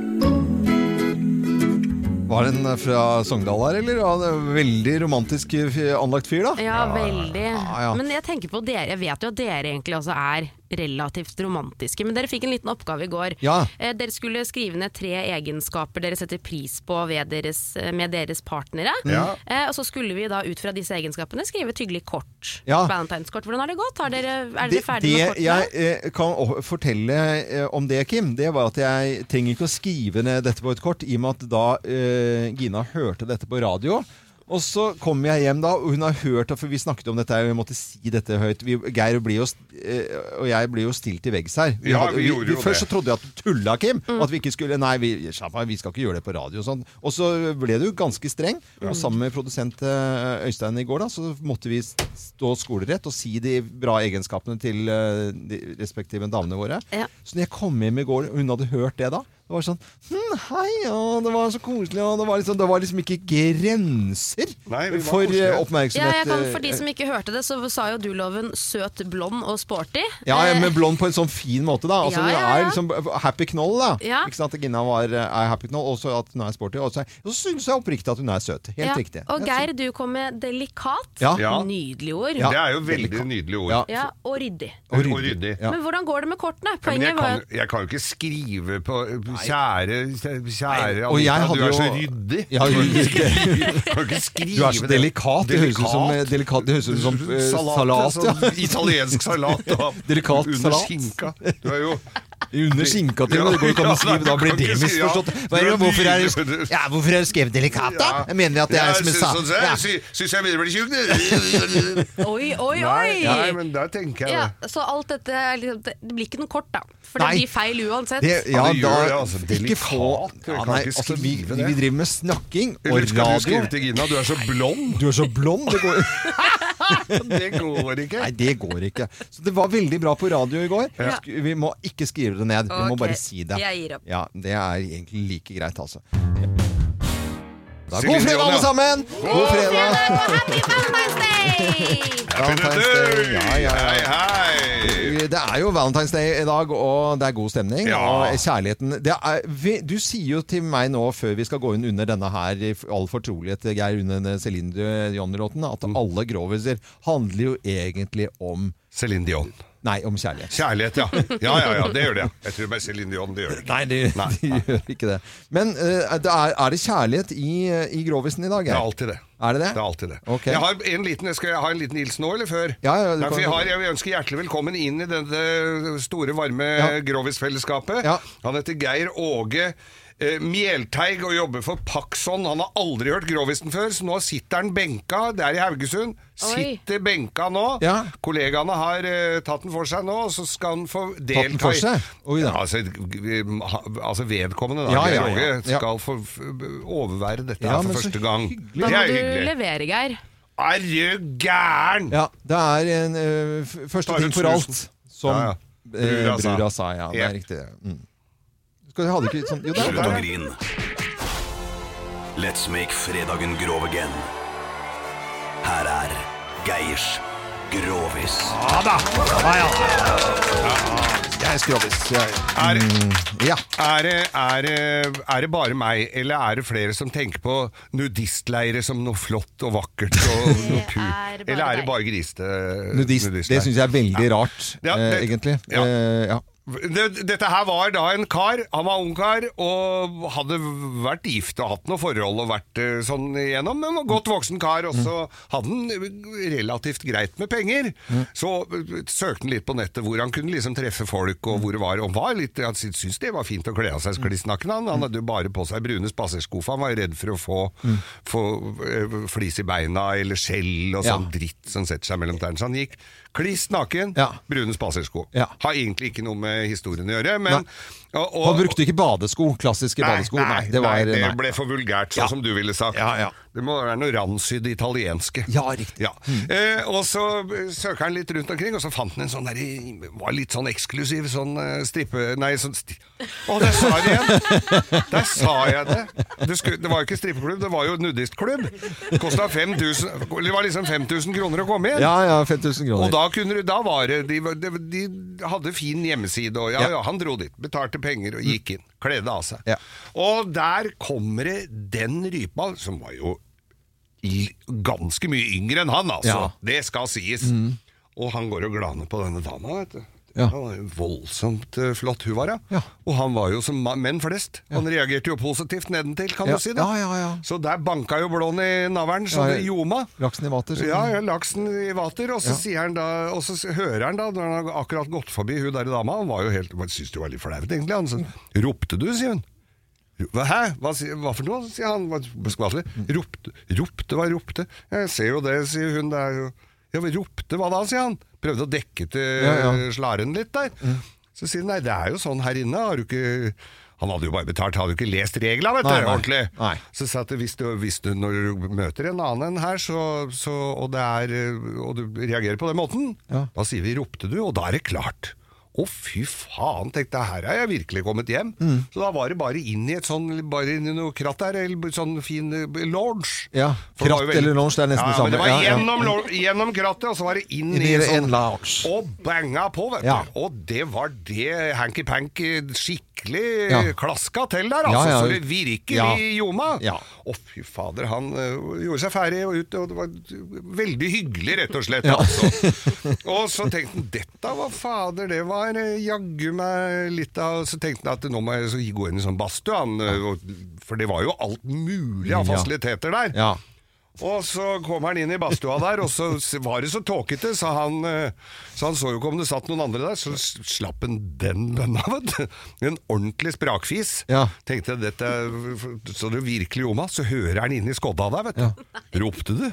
Var den eh, fra Sogndal her, eller? Ja, det er en veldig romantisk eh, f- anlagt fyr, da.
Ja, veldig.
Ja, ja.
Men jeg tenker på dere, jeg vet jo at dere egentlig også er relativt romantiske, men dere fikk en liten oppgave i går.
Ja.
Eh, Dere skulle skrive ned tre egenskaper dere setter pris på ved deres, eh, med deres partnere.
Mm. Ja.
Eh, Og så skulle vi da ut fra disse egenskapene skrive et hyggelig kort.
Ja.
Valentineskort. Hvordan har det gått? Har dere, er
Det,
dere ferdige med
det
kortene?
jeg eh, kan o- fortelle eh, om det, Kim, det var at jeg trenger ikke å skrive ned dette på et kort, i og med at da eh, Gina hørte dette på radio. Og så kommer jeg hjem da, og hun har hørt For vi snakket om dette, her, og jeg måtte si dette høyt. Vi, Geir blir jo, st- eh, og jeg blir jo stilt til veggs her.
Ja,
hadde-
vi gjorde jo
først så
det.
trodde jeg at du tulla, Kim.
Mm.
At vi ikke skulle Nei, vi, slapp av, vi skal ikke gjøre det på radio og sånn. Og så ble du ganske streng.
Mm.
Og sammen med produsent eh, Øystein i går, da, så måtte vi stå skolerett og si de bra egenskapene til eh, de respektive damene våre.
Ja.
Så når jeg kom hjem i går, og hun hadde hørt det da, Det var sånn hm, Hei, og det var så koselig, og det var liksom, det var liksom ikke grenser
vi var
for eh,
koselige.
oppmerksomhet.
Ja, jeg kan, for de
eh,
som ikke hørte det, så sa jo du, Loven, søt, blond og sporty.
ja, ja,
Eh,
men blond på en sånn fin måte, da. Altså,
Ja, ja, ja.
Hun er liksom happy knoll, da.
Ja.
Ikke sant? at Gina var, eh, er happy knoll, og så at hun er sporty. Og så, og så syns jeg oppriktig at hun er søt. Helt
Eh, ja.
riktig.
Og Geir, du kom med delikat.
Ja. Ja.
Nydelige ord.
Ja.
Det er jo veldig nydelige ord.
Ja, og ryddig.
Og ryddig. Og ryddig.
Men hvordan går det med kortene?
Ja, men
Poenget
jeg,
var
kan,
jo
jeg kan jo ikke skrive på Kjære, kjære
og jeg
Anita,
hadde
du er så
jo-
ryddig.
Ja,
Du kan ikke
ryddig.
skrive- du kan ikke skrive
Du er så
det.
delikat. Det høres ut som, eh,
Delikat.
delikat, det høres ut som eh,
Salat,
salat.
sånn
ja.
italiensk salat, da.
delikat
Under
salat.
skinka. Du er jo
Under skinka til og med. Det går ikke an å skrive. Da blir
Ja, du kan
det
ikke si- ja.
misforstått. Hva er det- Hvorfor er det ja, hvorfor er det skrevet delikat, da? Jeg mener at det er som en sa...
Syns
Ja.
jeg, sy- syns jeg begynner å bli tjukk, du.
Oi, oi,
Nei,
oi!
Nei, men der tenker jeg
ja,
det.
så alt dette er liksom, det det blir ikke noe kort, da. For
Nei.
det blir feil uansett.
Det, ja,
Ja, det gjør
da,
det, altså.
ikke få
Delikat, jeg
ja,
kan
nei,
ikke
altså, vi,
skrive det.
vi driver med snakking og
Eller skal du
radio.
skrive til Gina du er så blond?
Du er så blond! Det går,
Det går ikke.
nei, det går ikke. Så det var veldig bra på radio i går.
Ja.
Sk- Vi må ikke skrive det ned. Vi må
Ok,
bare si det.
jeg gir opp.
Ja, Det er egentlig like greit, altså. Da,
Sikkert
god fredag,
Johan, ja.
alle sammen! God fredag! Valentine's Day. Ja, ja, ja. Det er jo Valentine's Day i dag, og det er god stemning.
Ja.
Og kjærligheten det er, vi, Du sier jo til meg nå, før vi skal gå inn under denne her, i all fortrolighet, Geir, under denne Céline Dion-låten, at alle groviser handler jo egentlig om
Céline Dion.
Nei, om kjærlighet.
Kjærlighet, ja. Ja, ja, ja, det gjør det. ja. Jeg tror bare Céline Dion, det gjør det ikke.
Nei, det, de gjør ikke det. Men eh, det er, er det kjærlighet i, eh, i grovisen i dag?
Det er alltid det.
Er det det?
Det er alltid det.
Ok.
Jeg har en liten, skal jeg ha en liten hilsen nå, eller før?
Ja, ja, du
Nei,
kan-
for jeg, har, jeg vil ønske hjertelig velkommen inn i dette store, varme Grovis-fellesskapet. Han heter Geir Åge eh, Mjelteig og jobber for Paxson. Han har aldri hørt Grovisen før, så nå sitter han benka. Det er i Haugesund. Sitter benka nå.
Ja.
Kollegaene har eh, tatt den for seg nå, og så skal han få delta
Tatt den for
i-
seg? Oi da.
Ja, altså, g- ha- altså vedkommende, da.
Ja,
Geir
ja, ja.
Åge
Ja.
skal få f- overvære dette
Ja,
her
men
for
så
første gang.
Da
Det
må
er
du
hyggelig.
levere, Geir.
Er du gæren?
Ja, det er en eh, f- første
Ta
ting
ut
for alt,
snusen.
som
Ja, ja.
eh,
Brura sa.
brura sa. Ja, det
Ja.
er riktig. Mm. Skal hadde ikke sånn, jo, det
Slutt å
er
grine. Let's make fredagen grov again. Her er Geirs Grovis.
Ja da!
Jeg er skrovis.
Er,
ja.
er, det- er, det- er det bare meg, eller er det flere som tenker på nudistleire som noe flott og vakkert? Og noe
er
kult?
bare
Eller er det
deg.
bare griste
Nudist. Det syns jeg er veldig rart,
Ja,
eh,
det-
egentlig.
ja.
Eh, ja.
Det- Dette her var da en kar, han var ungkar, og hadde vært gift og hatt noe forhold og vært eh, sånn igjennom, men var godt voksen kar, og så hadde han relativt greit med penger. Så eh, søkte han litt på nettet hvor han kunne liksom treffe folk, og hvor det var, og var litt, han sy- syntes det var fint å kle av seg sklissnakken, han, han hadde jo bare på seg brune spasersko, for han var jo redd for å få, få eh, flis i beina, eller skjell og
Ja.
sånn dritt som setter seg mellom tærne, så han gikk kliss naken, brune spasersko. Har egentlig ikke noe med historien å gjøre, men og, og-
Han brukte ikke badesko, klassiske badesko. Nei, det var
nei, det
nei.
ble for vulgært, sånn
Ja.
som du ville sagt. Det må være noe ransyd italienske.
Ja, riktig. Mm.
Eh, og så eh, søker han litt rundt omkring, og så fant han en sånn der, i- var litt sånn eksklusiv sånn eh, strippe... Nei, sånn sti... Å, der sa jeg det igjen! Der sa jeg det! Det, skulle, det var jo ikke strippeklubb, det var jo nudistklubb. Kosta 5000 Det var liksom 5000 kroner å komme inn.
Ja, ja, 5000 kroner.
Og da, kunne, du- da var det de, var- de, de hadde fin hjemmeside, og ja,
Ja.
ja. han dro dit. Betalte penger og gikk inn. Kledde av seg. Og der kommer det den rypa, som var jo i- ganske mye yngre enn han, altså.
Ja. Mm.
Det skal sies. Og han går og glaner på denne dama, vet du.
Ja.
Han var jo voldsomt eh, flott hun var, ja. Og han var jo som ma- menn flest. Han reagerte jo positivt nedentil, kan
Ja.
du si det.
Ja, ja, ja.
Så der banka jo blåen i navlen, så
Ja,
det
ja.
ljoma.
Laksen i vater. så-
Ja, ja, laksen i vater, og så,
Ja.
sier han da, og så s- hører han da, når han har akkurat gått forbi hun der dama, han var jo helt, han syntes det var litt flaut egentlig, han sånn, ropte du, sier hun. «Ro- Hva, hæ? Hva, sier- hva for noe, sier han, hva- skvattelig. Ropte, ropte, hva ropte? Jeg ser jo det, sier hun, det er jo, ja, men ropte, hva da, sier han. Prøvde å dekke til
Ja, ja. Mm.
slaren litt der. Så sier han, nei, det er jo sånn her inne, har du ikke... Han hadde jo bare betalt, hadde jo ikke lest reglene, vet du,
Nei, nei.
ordentlig. Så sa jeg at hvis du, hvis du når du møter en annen enn her, så, så, og, det er, eh, og du reagerer på den måten, da sier vi 'ropte du', og da er det klart. Å, fy faen, tenkte jeg, her har jeg virkelig kommet hjem.
Mm.
Så da var det bare inn i et sånn, bare inn i noe kratt der, eller sånn fin eh, lounge.
Ja,
For det var
kratt
jo veldig-
eller lounge, det er nesten
ja,
det samme.
Men det var
Ja, ja.
gjennom, lo- gjennom krattet, og så var det inn
Inn
i
i
en
en
sånn
lounge.
Og banga på, vet du.
Ja.
Og det var det hanky-panky skikkelig
Ja.
klaska til der,
Ja,
altså.
ja.
Så det virkelig
Ja.
ljoma.
Ja.
Å, fy fader, han eh, gjorde seg ferdig og ut, og det var veldig hyggelig, rett og slett.
Ja.
Altså. Og så tenkte han, dette var fader, det var eh, jaggu meg litt av Så tenkte han at nå må jeg så gå inn i sånn badstue, han, eh, og- for det var jo alt mulig av
Ja.
fasiliteter der.
Ja.
Og så kom han inn i badstua der, og så s- var det så tåkete, så han, eh, så han så jo ikke om det satt noen andre der, så s- slapp han den bønna, vet du. En ordentlig sprakfis. Tenkte jeg, dette, er f- så det virkelig gjorde meg, så hører han inn i skodda der, vet du. Ropte du?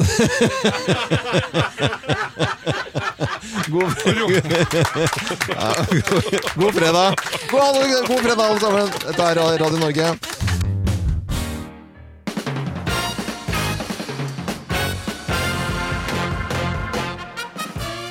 God, ja, god, god fredag. God, god fredag, alle sammen. Dette er Radio Norge.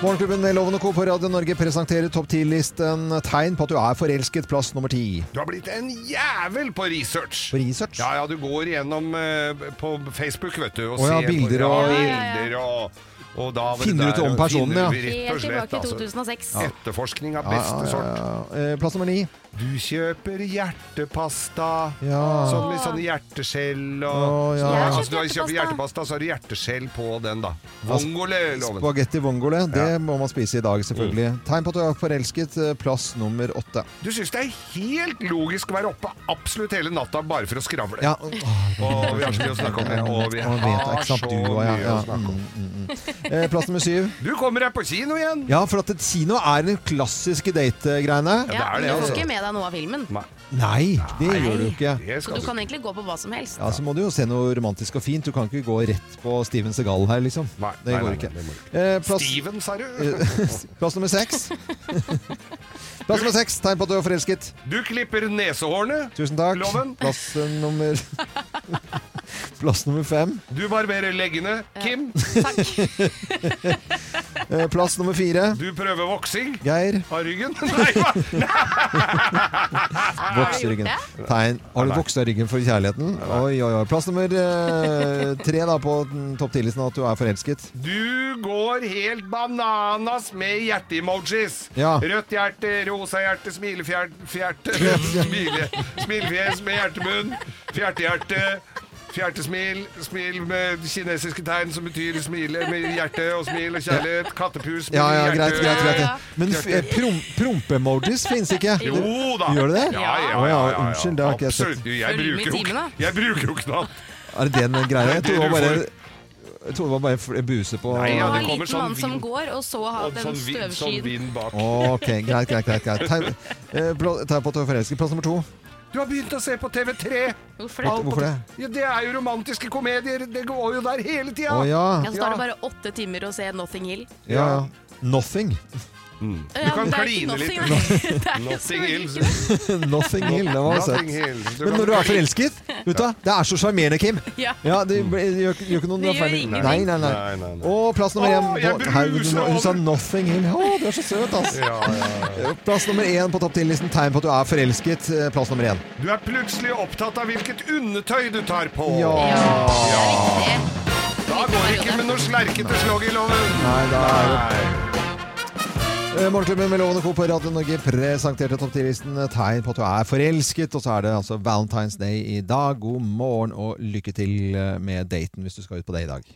Morgenklubben med Loven og Co. på Radio Norge presenterer topp 10-listen tegn på at du er forelsket, plass nummer ti.
Du har blitt en jævel på research.
På research?
Ja, ja, du går igjennom eh, på Facebook, vet du.
Å ja,
ser
bilder
på,
og-
ja, bilder og, og da var det
Finner ut
der,
om
og
personen,
finner
ja.
vi rett og
Helt
slett,
tilbake i
altså.
2006.
Etterforskning av
Ja, ja,
beste
ja,
sort.
Eh, Plass nummer ni.
Du kjøper hjertepasta
Ja.
som med sånne hjerteskjell og
Å, ja.
Så,
Jeg har
altså,
kjøpt
Du har kjøpt hjertepasta, så har du hjerteskjell på den, da. Vongole, loven. Mm.
Spagetti vongole, det må man spise i dag, selvfølgelig. Tegn på at du er forelsket, eh, plass nummer åtte.
Du syns det er helt logisk å være oppe absolutt hele natta bare for å skravle.
Ja.
Og vi har så mye å snakke om, det, og vi
Og vet,
har
ikke
så
sant, du og
mye
jeg,
å
ja,
snakke om.
Eh, Plass nummer syv.
Du kommer deg på kino igjen!
Ja, for at et kino er den klassiske date-greiene.
Ja, Du får ikke med deg noe av filmen.
Nei, det
Nei.
gjør du ikke.
Så
altså.
du kan egentlig gå på hva som helst.
Ja, Så må du jo se noe romantisk og fint. Du kan ikke gå rett på Steven Segal her, liksom. det
nei,
går
nei,
ikke.
det må
Eh, plass,
Steven, sa du?
eh, plass nummer seks. plass nummer seks. Tegn på at du er forelsket.
Du klipper nesehårene.
Tusen takk.
Loven.
Plass eh, nummer Plass nummer fem.
Du barberer leggene. Kim.
Eh, plass nummer fire.
Du prøver voksing.
Geir.
Av ryggen. Nei, hva?
Voks ryggen. Tegn. Har du vokst av ryggen for kjærligheten? Oi, oi, oi. Plass nummer eh, tre da på den topp 10-listen at du er forelsket.
Du går helt bananas med hjerte-emojis.
Ja.
Rødt hjerte, rosa hjerte, smilefjerte fjerte, smile, Smilefjes med hjertebunn. Fjertehjerte. Fjertesmil, smil med kinesiske tegn som betyr smile med hjerte og smil og kjærlighet. Kattepus, smil,
Ja, ja,
hjerte.
greit, greit, greit.
Ja, ja.
Men f- eh, prom prompe-emojis fins ikke?
Jo da!
Gjør det det?
Ja, ja,
Å
ja, ja, ja.
Unnskyld, det har ikke jeg
Absolutt.
sett.
Jeg
Følg med
bruker jo
i timen,
ikke
da.
Jeg bruker jo ikke noe annet.
Er det den greia? Jeg
Det er det du
trodde det var bare jeg trodde det var bare f- buse på
Nei,
Du
ja,
har
det
en
kommer
liten
sånn
mann som
vind-
går, og så har
og
den
sånn vind, sånn
støvskyen.
vind bak.
Ok, greit, greit, greit. greit. Tegn eh, pla- tegn på at du er forelsket. Plass nummer to.
Du har begynt å se på TV3!
Hvorfor
det? Hvorfor det?
Ja, det er jo romantiske komedier. Det går jo der hele tida.
Å, ja.
Ja, så tar det bare åtte timer å se Nothing Hill.
Ja, ja. Nothing.
Du kan det er ikke kline nothing, litt. nei. Det er jo
Nothing
selvfølgelig
Hills.
Nothing Hill, det var
Nothing Hill.
søtt.
Du
Men
kan
når du er
kline.
forelsket vet du, hva, Det er så sjarmerende, Kim.
Ja.
det, ble- det gjør, ikke- gjør ikke noen
Det gjør
feil.
ingenting.
Nei, nei, nei.
Nei, nei, nei.
Og plass nummer én
Å, jeg
på- Herregud,
bruser
Hun sa
over.
'Nothing Hill'. Å, du er så søt, ass. Plass nummer én på topp 10-listen. Tegn på at du er forelsket. Eh, Plass nummer én.
Du er plutselig opptatt av hvilket undertøy du tar på.
Ja.
Ja. Da går det ikke med noe slerkete slogg i loven.
Nei, da er det Eh, Morgenklubben med Lovende Co. på Radio Norge presenterte topp 10-listen eh, tegn på at du er forelsket. Og så er det altså Valentine's Day i dag. God morgen og lykke til eh, med daten hvis du skal ut på det i dag.